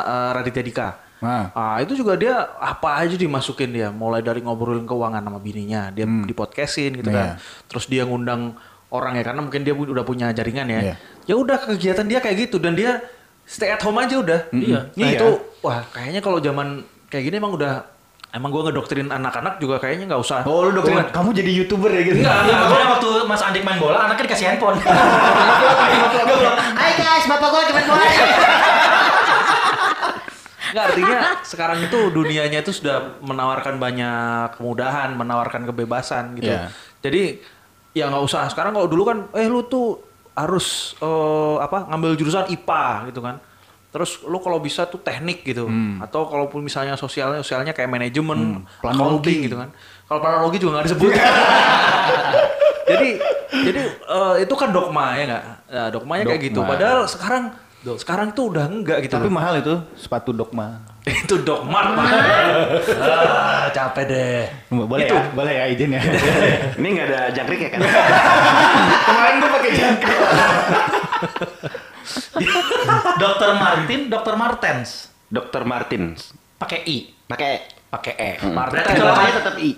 Speaker 2: eh, Raditya Dika.
Speaker 3: Nah.
Speaker 2: Ah, itu juga dia apa aja dimasukin dia, mulai dari ngobrolin keuangan sama bininya, dia di podcastin gitu kan.
Speaker 3: Hmm. Iya.
Speaker 2: Terus dia ngundang orang ya karena mungkin dia pu- udah punya jaringan ya.
Speaker 3: Iya.
Speaker 2: Ya udah kegiatan dia kayak gitu dan dia stay at home aja udah. Iya. Nah,
Speaker 3: Iya.
Speaker 2: itu wah kayaknya kalau zaman kayak gini emang udah emang gua ngedoktrin anak-anak juga kayaknya nggak usah.
Speaker 3: Oh lu dokter, kamu jadi youtuber ya gitu?
Speaker 1: Enggak, enggak. Iya, Makanya waktu Mas Andik main bola, anaknya dikasih handphone.
Speaker 4: Hai guys, bapak gue cuma
Speaker 2: Nggak, artinya sekarang itu dunianya itu sudah menawarkan banyak kemudahan, menawarkan kebebasan gitu.
Speaker 3: Iya.
Speaker 2: Jadi ya nggak usah sekarang kalau dulu kan eh lu tuh harus eh, apa ngambil jurusan IPA gitu kan. Terus lu kalau bisa tuh teknik gitu
Speaker 3: Hmm.
Speaker 2: atau kalaupun misalnya sosialnya sosialnya kayak manajemen, accounting gitu kan. Kalau planologi juga nggak disebut. jadi jadi eh, itu kan dogma ya nggak? Nah, dogmanya kayak gitu.
Speaker 3: Dogma.
Speaker 2: Padahal sekarang sekarang tuh udah enggak gitu.
Speaker 3: Tapi
Speaker 2: loh.
Speaker 3: mahal itu sepatu dogma.
Speaker 2: itu dogmat ah, capek deh
Speaker 3: Boleh ya, boleh ya izin ya.
Speaker 6: Ini nggak ada jangkrik ya kan?
Speaker 3: Kemarin gue pakai jangkrik.
Speaker 1: Dokter Martin, Dokter Martens
Speaker 6: Dr. Martins.
Speaker 1: pakai I,
Speaker 6: Pakai
Speaker 1: pakai E.
Speaker 2: Martens.
Speaker 1: Berarti kalau
Speaker 6: bacanya tetap I.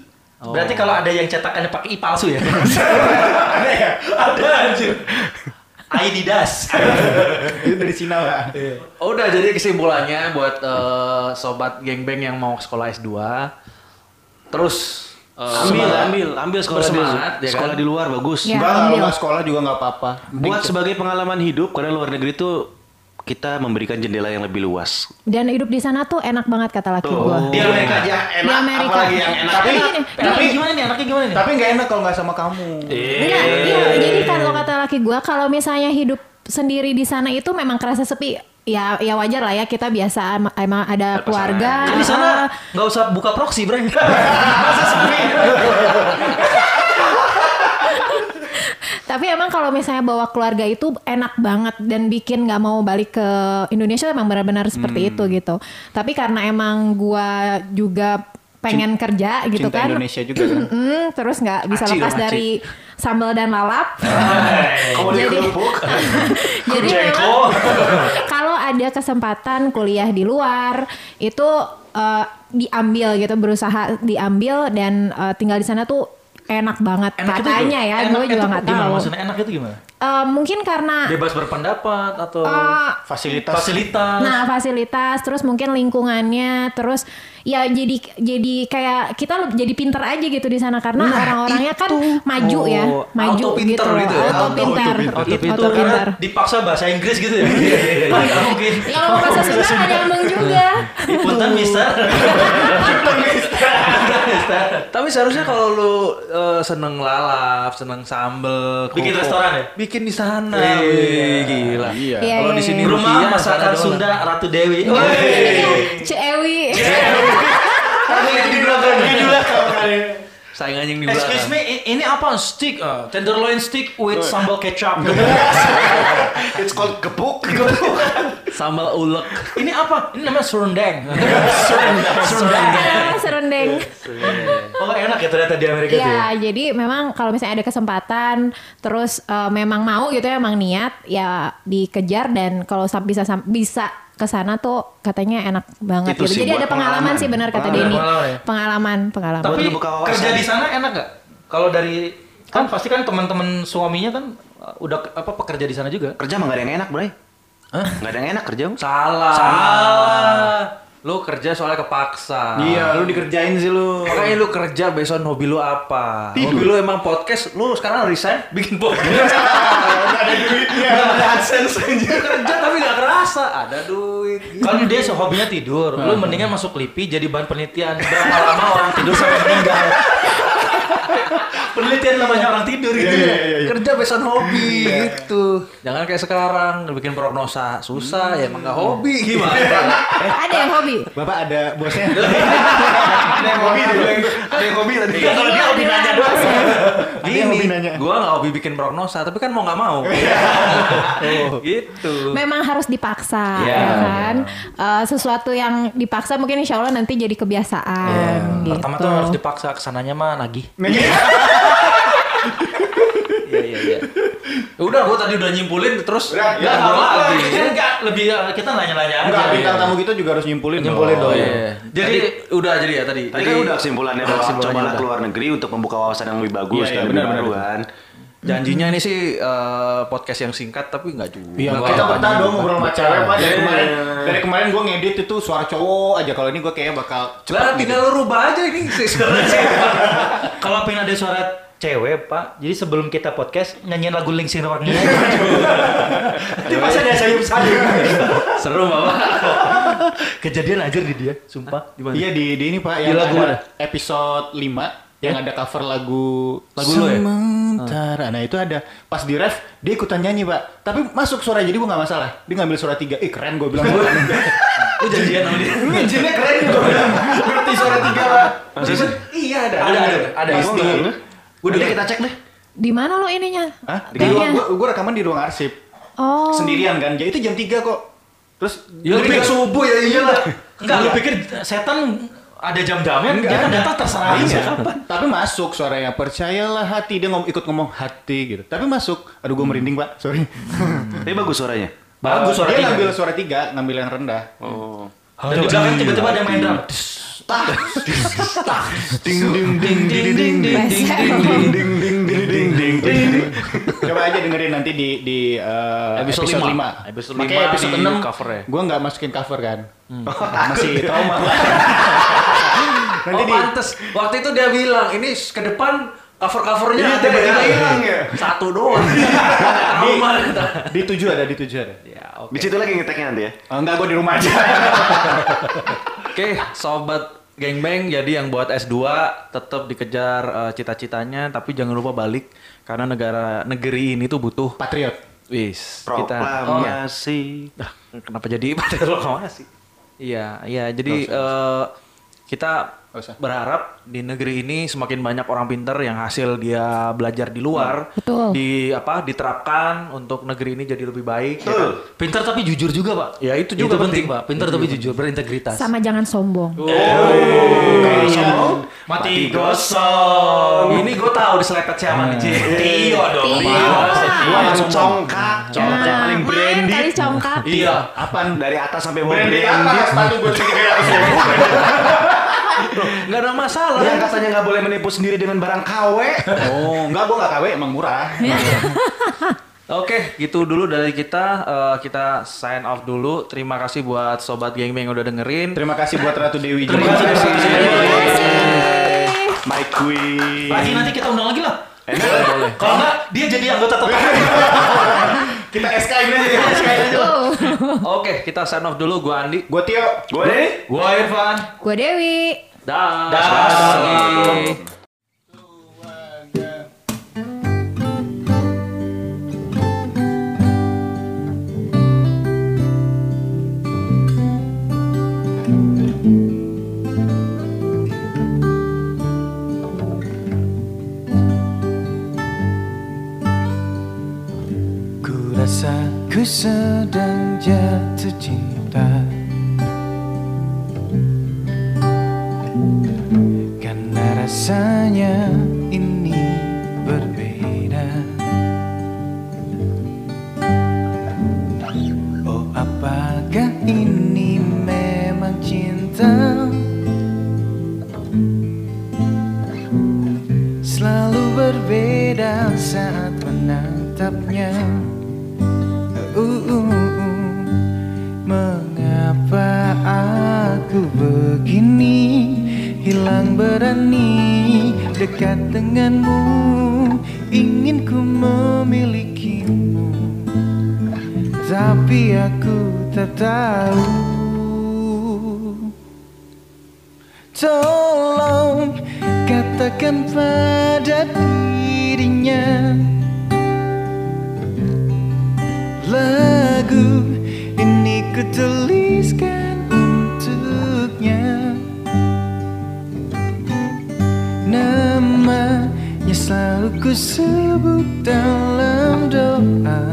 Speaker 1: Oh. Berarti kalau ada yang cetakannya pakai I palsu ya? ada anjir. Adidas.
Speaker 3: Itu dari Cina pak.
Speaker 2: udah jadi kesimpulannya buat eh, sobat gengbeng yang mau sekolah S2 terus eh,
Speaker 6: ambil,
Speaker 2: semangat,
Speaker 6: ambil, ambil sekolah
Speaker 2: bersemangat, ya
Speaker 6: di,
Speaker 2: kan?
Speaker 6: sekolah di luar bagus.
Speaker 5: Ya,
Speaker 3: Enggak, kalau
Speaker 5: ambil.
Speaker 3: nggak sekolah juga nggak apa-apa.
Speaker 6: Buat sebagai pengalaman hidup karena luar negeri itu kita memberikan jendela yang lebih luas.
Speaker 5: Dan hidup di sana tuh enak banget kata laki gua.
Speaker 3: Oh.
Speaker 6: Di Amerika aja
Speaker 5: Di Amerika. Iya.
Speaker 1: Tapi,
Speaker 5: Tapi gini,
Speaker 1: tapi gimana nih anaknya gimana nih?
Speaker 3: Tapi nggak enak kalau nggak sama kamu.
Speaker 5: Enggak, iya, jadi kalau kata laki gua kalau misalnya hidup sendiri di sana itu memang kerasa sepi. Ya ya wajar lah ya kita biasa em- emang ada keluarga. Eh,
Speaker 2: Kan di sana nggak usah buka proxy, Bray. Masa sepi.
Speaker 5: Tapi emang kalau misalnya bawa keluarga itu enak banget dan bikin nggak mau balik ke Indonesia emang benar-benar seperti itu gitu. Tapi karena emang gua juga pengen kerja gitu
Speaker 3: Cinta
Speaker 5: kan.
Speaker 3: Indonesia juga kan?
Speaker 5: Mm, terus nggak bisa
Speaker 2: Aci
Speaker 5: lepas
Speaker 2: dong, aci.
Speaker 5: dari sambal dan lalap.
Speaker 1: Eh,
Speaker 6: Kamu di kerupuk.
Speaker 5: Jadi memang kalau ada kesempatan kuliah di luar itu eh, diambil gitu berusaha diambil dan eh, tinggal di sana tuh enak banget
Speaker 1: Enak itu
Speaker 5: katanya ya, gue
Speaker 1: enak itu
Speaker 5: juga nggak
Speaker 1: Gimana
Speaker 5: tahu.
Speaker 1: maksudnya Ah. enak itu gimana?
Speaker 5: Eh, mungkin karena
Speaker 1: Bebas berpendapat atau
Speaker 5: eh,
Speaker 3: Fasilitas.
Speaker 1: fasilitas?
Speaker 5: Nah, fasilitas terus mungkin lingkungannya terus ya jadi jadi kayak kita lebih- jadi pinter aja gitu di sana karena
Speaker 1: Nah,
Speaker 5: orang-orangnya kan maju ya,
Speaker 2: Oh,
Speaker 5: maju
Speaker 2: auto pinter
Speaker 5: gitu. loh.
Speaker 2: gitu ya?
Speaker 5: Auto
Speaker 2: Auto-
Speaker 5: pinter.
Speaker 1: Auto
Speaker 5: Auto
Speaker 1: pinter.
Speaker 5: pinter.
Speaker 1: Karena dipaksa bahasa Inggris gitu ya? Iya, iya, iya. Nggak mungkin.
Speaker 5: Ya, Kalau mau bahasa Sunda ada yang emang juga.
Speaker 1: Punten mister.
Speaker 2: Tapi seharusnya kalau lu eh, seneng lalap, seneng sambel,
Speaker 1: Bikin
Speaker 2: kerupuk,
Speaker 1: restoran ya?
Speaker 2: Bikin di sana.
Speaker 1: Iya.
Speaker 2: Wih, gila.
Speaker 3: Iya.
Speaker 5: Iya,
Speaker 2: Kalau di
Speaker 5: iya,
Speaker 2: sini
Speaker 5: iya.
Speaker 2: rumah
Speaker 1: Rumah
Speaker 2: masakan
Speaker 1: masakan
Speaker 2: Sunda.
Speaker 1: Sunda Ratu Dewi.
Speaker 5: Iya, Cewi.
Speaker 1: Tapi yang di belakang.
Speaker 2: Saingannya yang di belakang.
Speaker 1: Excuse me, i- ini apa? Stick, ah, tenderloin stick with sambal kecap.
Speaker 6: It's called gebuk.
Speaker 2: Sambal ulek.
Speaker 1: ini apa? Ini namanya serundeng. Serundeng. Serundeng.
Speaker 5: Serendeng.
Speaker 1: Oh enak ya ternyata di Amerika tuh.
Speaker 5: Ya, jadi memang kalau misalnya ada kesempatan, terus eh, memang mau gitu ya, emang niat ya dikejar dan kalau sam- bisa sam- bisa ke sana tuh katanya enak banget
Speaker 6: Itu
Speaker 5: gitu.
Speaker 6: sih,
Speaker 5: Jadi
Speaker 6: buat
Speaker 5: ada pengalaman,
Speaker 6: pengalaman.
Speaker 5: sih benar kata
Speaker 1: Pengalaman,
Speaker 5: Denny.
Speaker 1: pengalaman ya.
Speaker 5: Pengalaman, pengalaman.
Speaker 1: Tapi
Speaker 6: Buat ngebuka wawasan.
Speaker 1: kerja di sana enak nggak? Kalau dari kan pasti kan teman-teman suaminya kan uh, udah ke- apa pekerja di sana juga.
Speaker 6: Kerja mah gak ada yang enak, Bray. Hah? Gak ada yang enak kerja.
Speaker 2: Salah.
Speaker 1: Salah.
Speaker 2: Lu kerja soalnya kepaksa.
Speaker 3: Iya, lu dikerjain sih lu.
Speaker 2: Makanya lu kerja besok hobi lu apa? Hobi lu emang podcast, lu sekarang resign bikin podcast. ada duitnya. AdSense aja. kerja tapi gak kerasa, ada duit.
Speaker 1: Kan dia hobinya tidur,
Speaker 3: Hmm.
Speaker 1: lu mendingan masuk LIPI jadi bahan penelitian. Berapa lama orang tidur sampai meninggal? penelitian namanya orang tidur
Speaker 3: Iya,
Speaker 1: gitu.
Speaker 2: Kerja besok hobi gitu. Jangan kayak sekarang bikin prognosa susah ya emang gak hobi gimana?
Speaker 5: ada yang hobi.
Speaker 3: Bapak ada bosnya.
Speaker 6: Ada yang hobi Iya. Ada yang hobi tadi.
Speaker 5: Kalau dia hobi nanya doang.
Speaker 3: yang hobi
Speaker 2: Gini,
Speaker 3: nanya.
Speaker 2: gua gak hobi bikin prognosa, tapi kan mau gak mau. gitu.
Speaker 5: Memang harus dipaksa, ya kan? Eh, sesuatu yang dipaksa mungkin insya Allah nanti jadi kebiasaan. Gitu.
Speaker 1: Pertama tuh harus dipaksa kesananya mah nagih.
Speaker 2: Iya iya iya. Udah, gua tadi udah nyimpulin terus
Speaker 3: Udah,
Speaker 2: ya
Speaker 3: ya,
Speaker 2: gua
Speaker 3: apa-apa.
Speaker 2: lagi.
Speaker 6: Iya.
Speaker 1: Kan nggak lebih uh, kita nanya-nanya aja.
Speaker 3: Enggak,
Speaker 2: Iya,
Speaker 3: bintang tamu kita juga harus nyimpulin.
Speaker 1: Nyimpulin dong.
Speaker 2: Oh iya. Jadi
Speaker 1: Jadi-
Speaker 2: udah jadi ya tadi.
Speaker 6: Tadi
Speaker 2: jadi
Speaker 6: kan udah kesimpulannya bahwa
Speaker 2: kesimpulannya
Speaker 6: cobalah
Speaker 2: udah.
Speaker 6: keluar negeri untuk membuka wawasan yang lebih bagus
Speaker 3: Iya, iya,
Speaker 6: dan lebih
Speaker 3: benar,
Speaker 6: baru
Speaker 3: benar.
Speaker 6: kan.
Speaker 2: Janjinya ini sih eh, podcast yang singkat tapi nggak juga.
Speaker 3: Iya,
Speaker 2: Nggak
Speaker 3: kita
Speaker 2: kayak
Speaker 3: pernah
Speaker 2: tadi.
Speaker 3: dong ngobrol sama cewek, Pak. Dari
Speaker 2: Iya.
Speaker 3: kemarin, dari kemarin gue ngedit itu suara cowok aja. Kalau ini gue kayaknya bakal
Speaker 2: Lah
Speaker 3: cepat
Speaker 2: tinggal
Speaker 3: gitu.
Speaker 2: lu rubah aja ini sih sebenarnya sih.
Speaker 1: Kalau pengen ada suara cewek, Pak. Jadi sebelum kita podcast nyanyiin lagu Linkin Park aja. Itu pasti ada sayup-sayup.
Speaker 2: Seru Bapak.
Speaker 1: Kejadian aja di dia, sumpah.
Speaker 2: Di mana?
Speaker 3: Iya di, di ini Pak yang
Speaker 1: lagu
Speaker 3: ada episode 5 yang ada cover lagu
Speaker 2: Lagu lu ya?
Speaker 3: Sementara. Nah itu ada pas di ref dia ikutan nyanyi Pak. Tapi masuk suara jadi gue nggak masalah. Dia ngambil suara 3. Ih keren gue bilang.
Speaker 2: Lu janjian sama dia.
Speaker 3: Ini jinnya keren gue bilang. Ngerti suara 3 Pak.
Speaker 2: Maksudnya?
Speaker 3: Iya ada.
Speaker 1: Ada, ada, ada.
Speaker 3: Pasti.
Speaker 6: Udah Nanti kita cek deh.
Speaker 5: Di mana lo ininya?
Speaker 3: Hah? Di
Speaker 5: Kayaknya.
Speaker 3: ruang, gua, gua rekaman di ruang arsip.
Speaker 5: Oh.
Speaker 3: Sendirian kan. Ya itu jam 3 kok. Terus
Speaker 2: Ya
Speaker 3: lebih-
Speaker 2: udah subuh ya iyalah.
Speaker 1: Enggak, lu pikir setan ada jam-jamnya?
Speaker 3: Enggak.
Speaker 1: Dia kan datang terserah aja.
Speaker 3: Iya. Tapi masuk suaranya percayalah hati dia ngom ikut ngomong hati gitu. Tapi masuk. Aduh gue merinding pak, sorry.
Speaker 6: Tapi bagus suaranya.
Speaker 1: Bagus
Speaker 3: Eh,
Speaker 1: suara
Speaker 3: dia
Speaker 1: tiga.
Speaker 3: ngambil suara tiga, ngambil yang rendah.
Speaker 6: Oh.
Speaker 1: Dan di belakang tiba-tiba ada yang main drum.
Speaker 6: Ding ding ding ding ding ding
Speaker 5: Bahasa.
Speaker 6: ding ding ding ding ding ding ding.
Speaker 3: Coba aja dengerin nanti di di eh,
Speaker 2: Episode
Speaker 3: episode,
Speaker 2: lima.
Speaker 3: 5.
Speaker 2: Episode
Speaker 3: Makanya
Speaker 2: lima
Speaker 3: episode
Speaker 2: di
Speaker 3: 6
Speaker 2: covernya. Hmm.
Speaker 3: Nah,
Speaker 2: Oh,
Speaker 3: Gue nggak masukin cover kan. Masih trauma.
Speaker 2: Nanti oh,
Speaker 7: di-
Speaker 2: pantes. Waktu itu dia bilang, ini ke depan cover-covernya
Speaker 7: Iya,
Speaker 2: tiba-tiba
Speaker 7: iya.
Speaker 2: hilang ya. Satu doang. Trauma kita.
Speaker 3: Di tujuh ada, di tujuh ada.
Speaker 2: Iya. Ya,
Speaker 6: Di situ lagi ngeteknya nanti ya.
Speaker 3: Oh, enggak, gue di rumah aja.
Speaker 2: Oke, sobat gengbang, jadi yang buat S2 tetap dikejar eh, cita-citanya, tapi jangan lupa balik karena negara negeri ini tuh butuh
Speaker 3: Patriot.
Speaker 2: wis kita. Oh,
Speaker 6: Proklamasi.
Speaker 2: dah, kenapa jadi proklamasi? Iya, iya. Jadi eh, kita
Speaker 3: Nggak usah.
Speaker 2: berharap di negeri ini semakin banyak orang pinter yang hasil dia belajar di luar,
Speaker 5: Betul.
Speaker 2: di apa diterapkan untuk negeri ini jadi lebih baik. ya kan?
Speaker 8: Pinter tapi jujur juga pak.
Speaker 2: Ya, itu juga
Speaker 8: penting,
Speaker 2: penting.
Speaker 8: pak. Pinter tapi jujur berintegritas.
Speaker 5: Sama jangan sombong.
Speaker 2: Iya.
Speaker 8: Mati
Speaker 2: Oh, ini gue tahu diselepet siapa nih, Ci.
Speaker 8: Iya.
Speaker 2: Tio dong.
Speaker 5: Iya.
Speaker 6: Gua langsung congkak. Congkak
Speaker 5: Nah,
Speaker 6: paling
Speaker 5: main
Speaker 6: brandy.
Speaker 5: kali congkak.
Speaker 2: Iya.
Speaker 3: Apaan?
Speaker 6: Dari atas sampai bawah
Speaker 7: Brand di
Speaker 6: brandy.
Speaker 7: atas, sepatu gue juga kayak langsung.
Speaker 2: Gak ada masalah.
Speaker 8: Iya.
Speaker 6: Yang katanya nggak boleh menipu sendiri dengan barang KW.
Speaker 3: Oh, enggak, gue enggak KW, emang murah.
Speaker 2: Oke, gitu dulu dari kita. Eh, kita sign off dulu. Terima kasih buat sobat Gengbeng yang udah dengerin.
Speaker 3: Terima kasih buat Ratu Dewi
Speaker 2: Terima
Speaker 3: juga.
Speaker 2: kasih.
Speaker 6: My
Speaker 1: Iya.
Speaker 6: queen.
Speaker 8: Lagi nanti kita undang lagi lah. Kalau enggak dia jadi anggota tetap.
Speaker 7: Kita SK ini aja.
Speaker 5: Oh.
Speaker 2: Oke, kita sign off dulu. Gua Andi.
Speaker 3: Gue Tio.
Speaker 6: Gue deh.
Speaker 2: Gua Irfan.
Speaker 5: Gue Dewi.
Speaker 2: Dah.
Speaker 1: Ku rasa ku sedang jatuh cinta Karena rasanya ini berbeda Oh apakah ini memang cinta Selalu berbeda saat menatapnya Uh, uh, uh. Mengapa aku begini Hilang berani dekat denganmu Ingin ku memilikimu Tapi aku tak tahu Tolong katakan pada dirinya Lagu ini kutuliskan untuknya Namanya selalu ku sebut dalam doa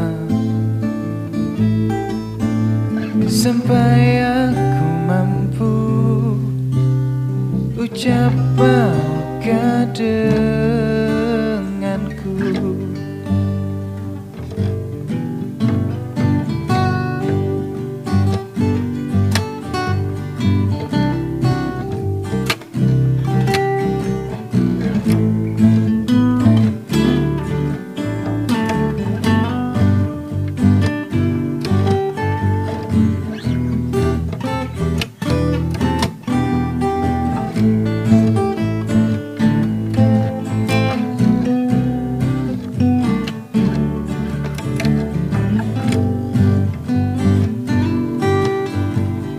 Speaker 1: Sampai aku mampu ucap bangga denganku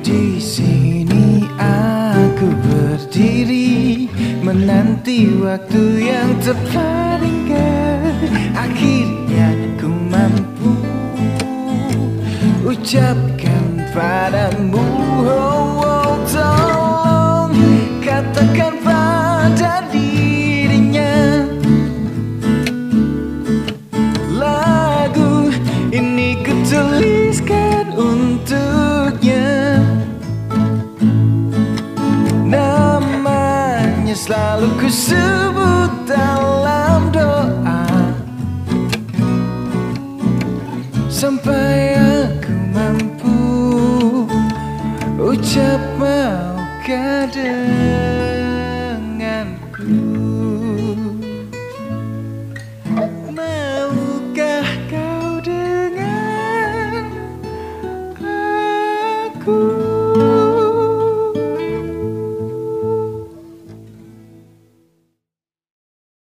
Speaker 1: Di sini aku berdiri menanti waktu yang tepat hingga akhirnya ku mampu ucapkan padamu oh, oh, tolong katakan pada dirinya lagu ini kutuliskan untuknya Namanya selalu ku sebut dalam doa Sampai aku mampu Ucap maukah denganku Maukah kau dengan aku?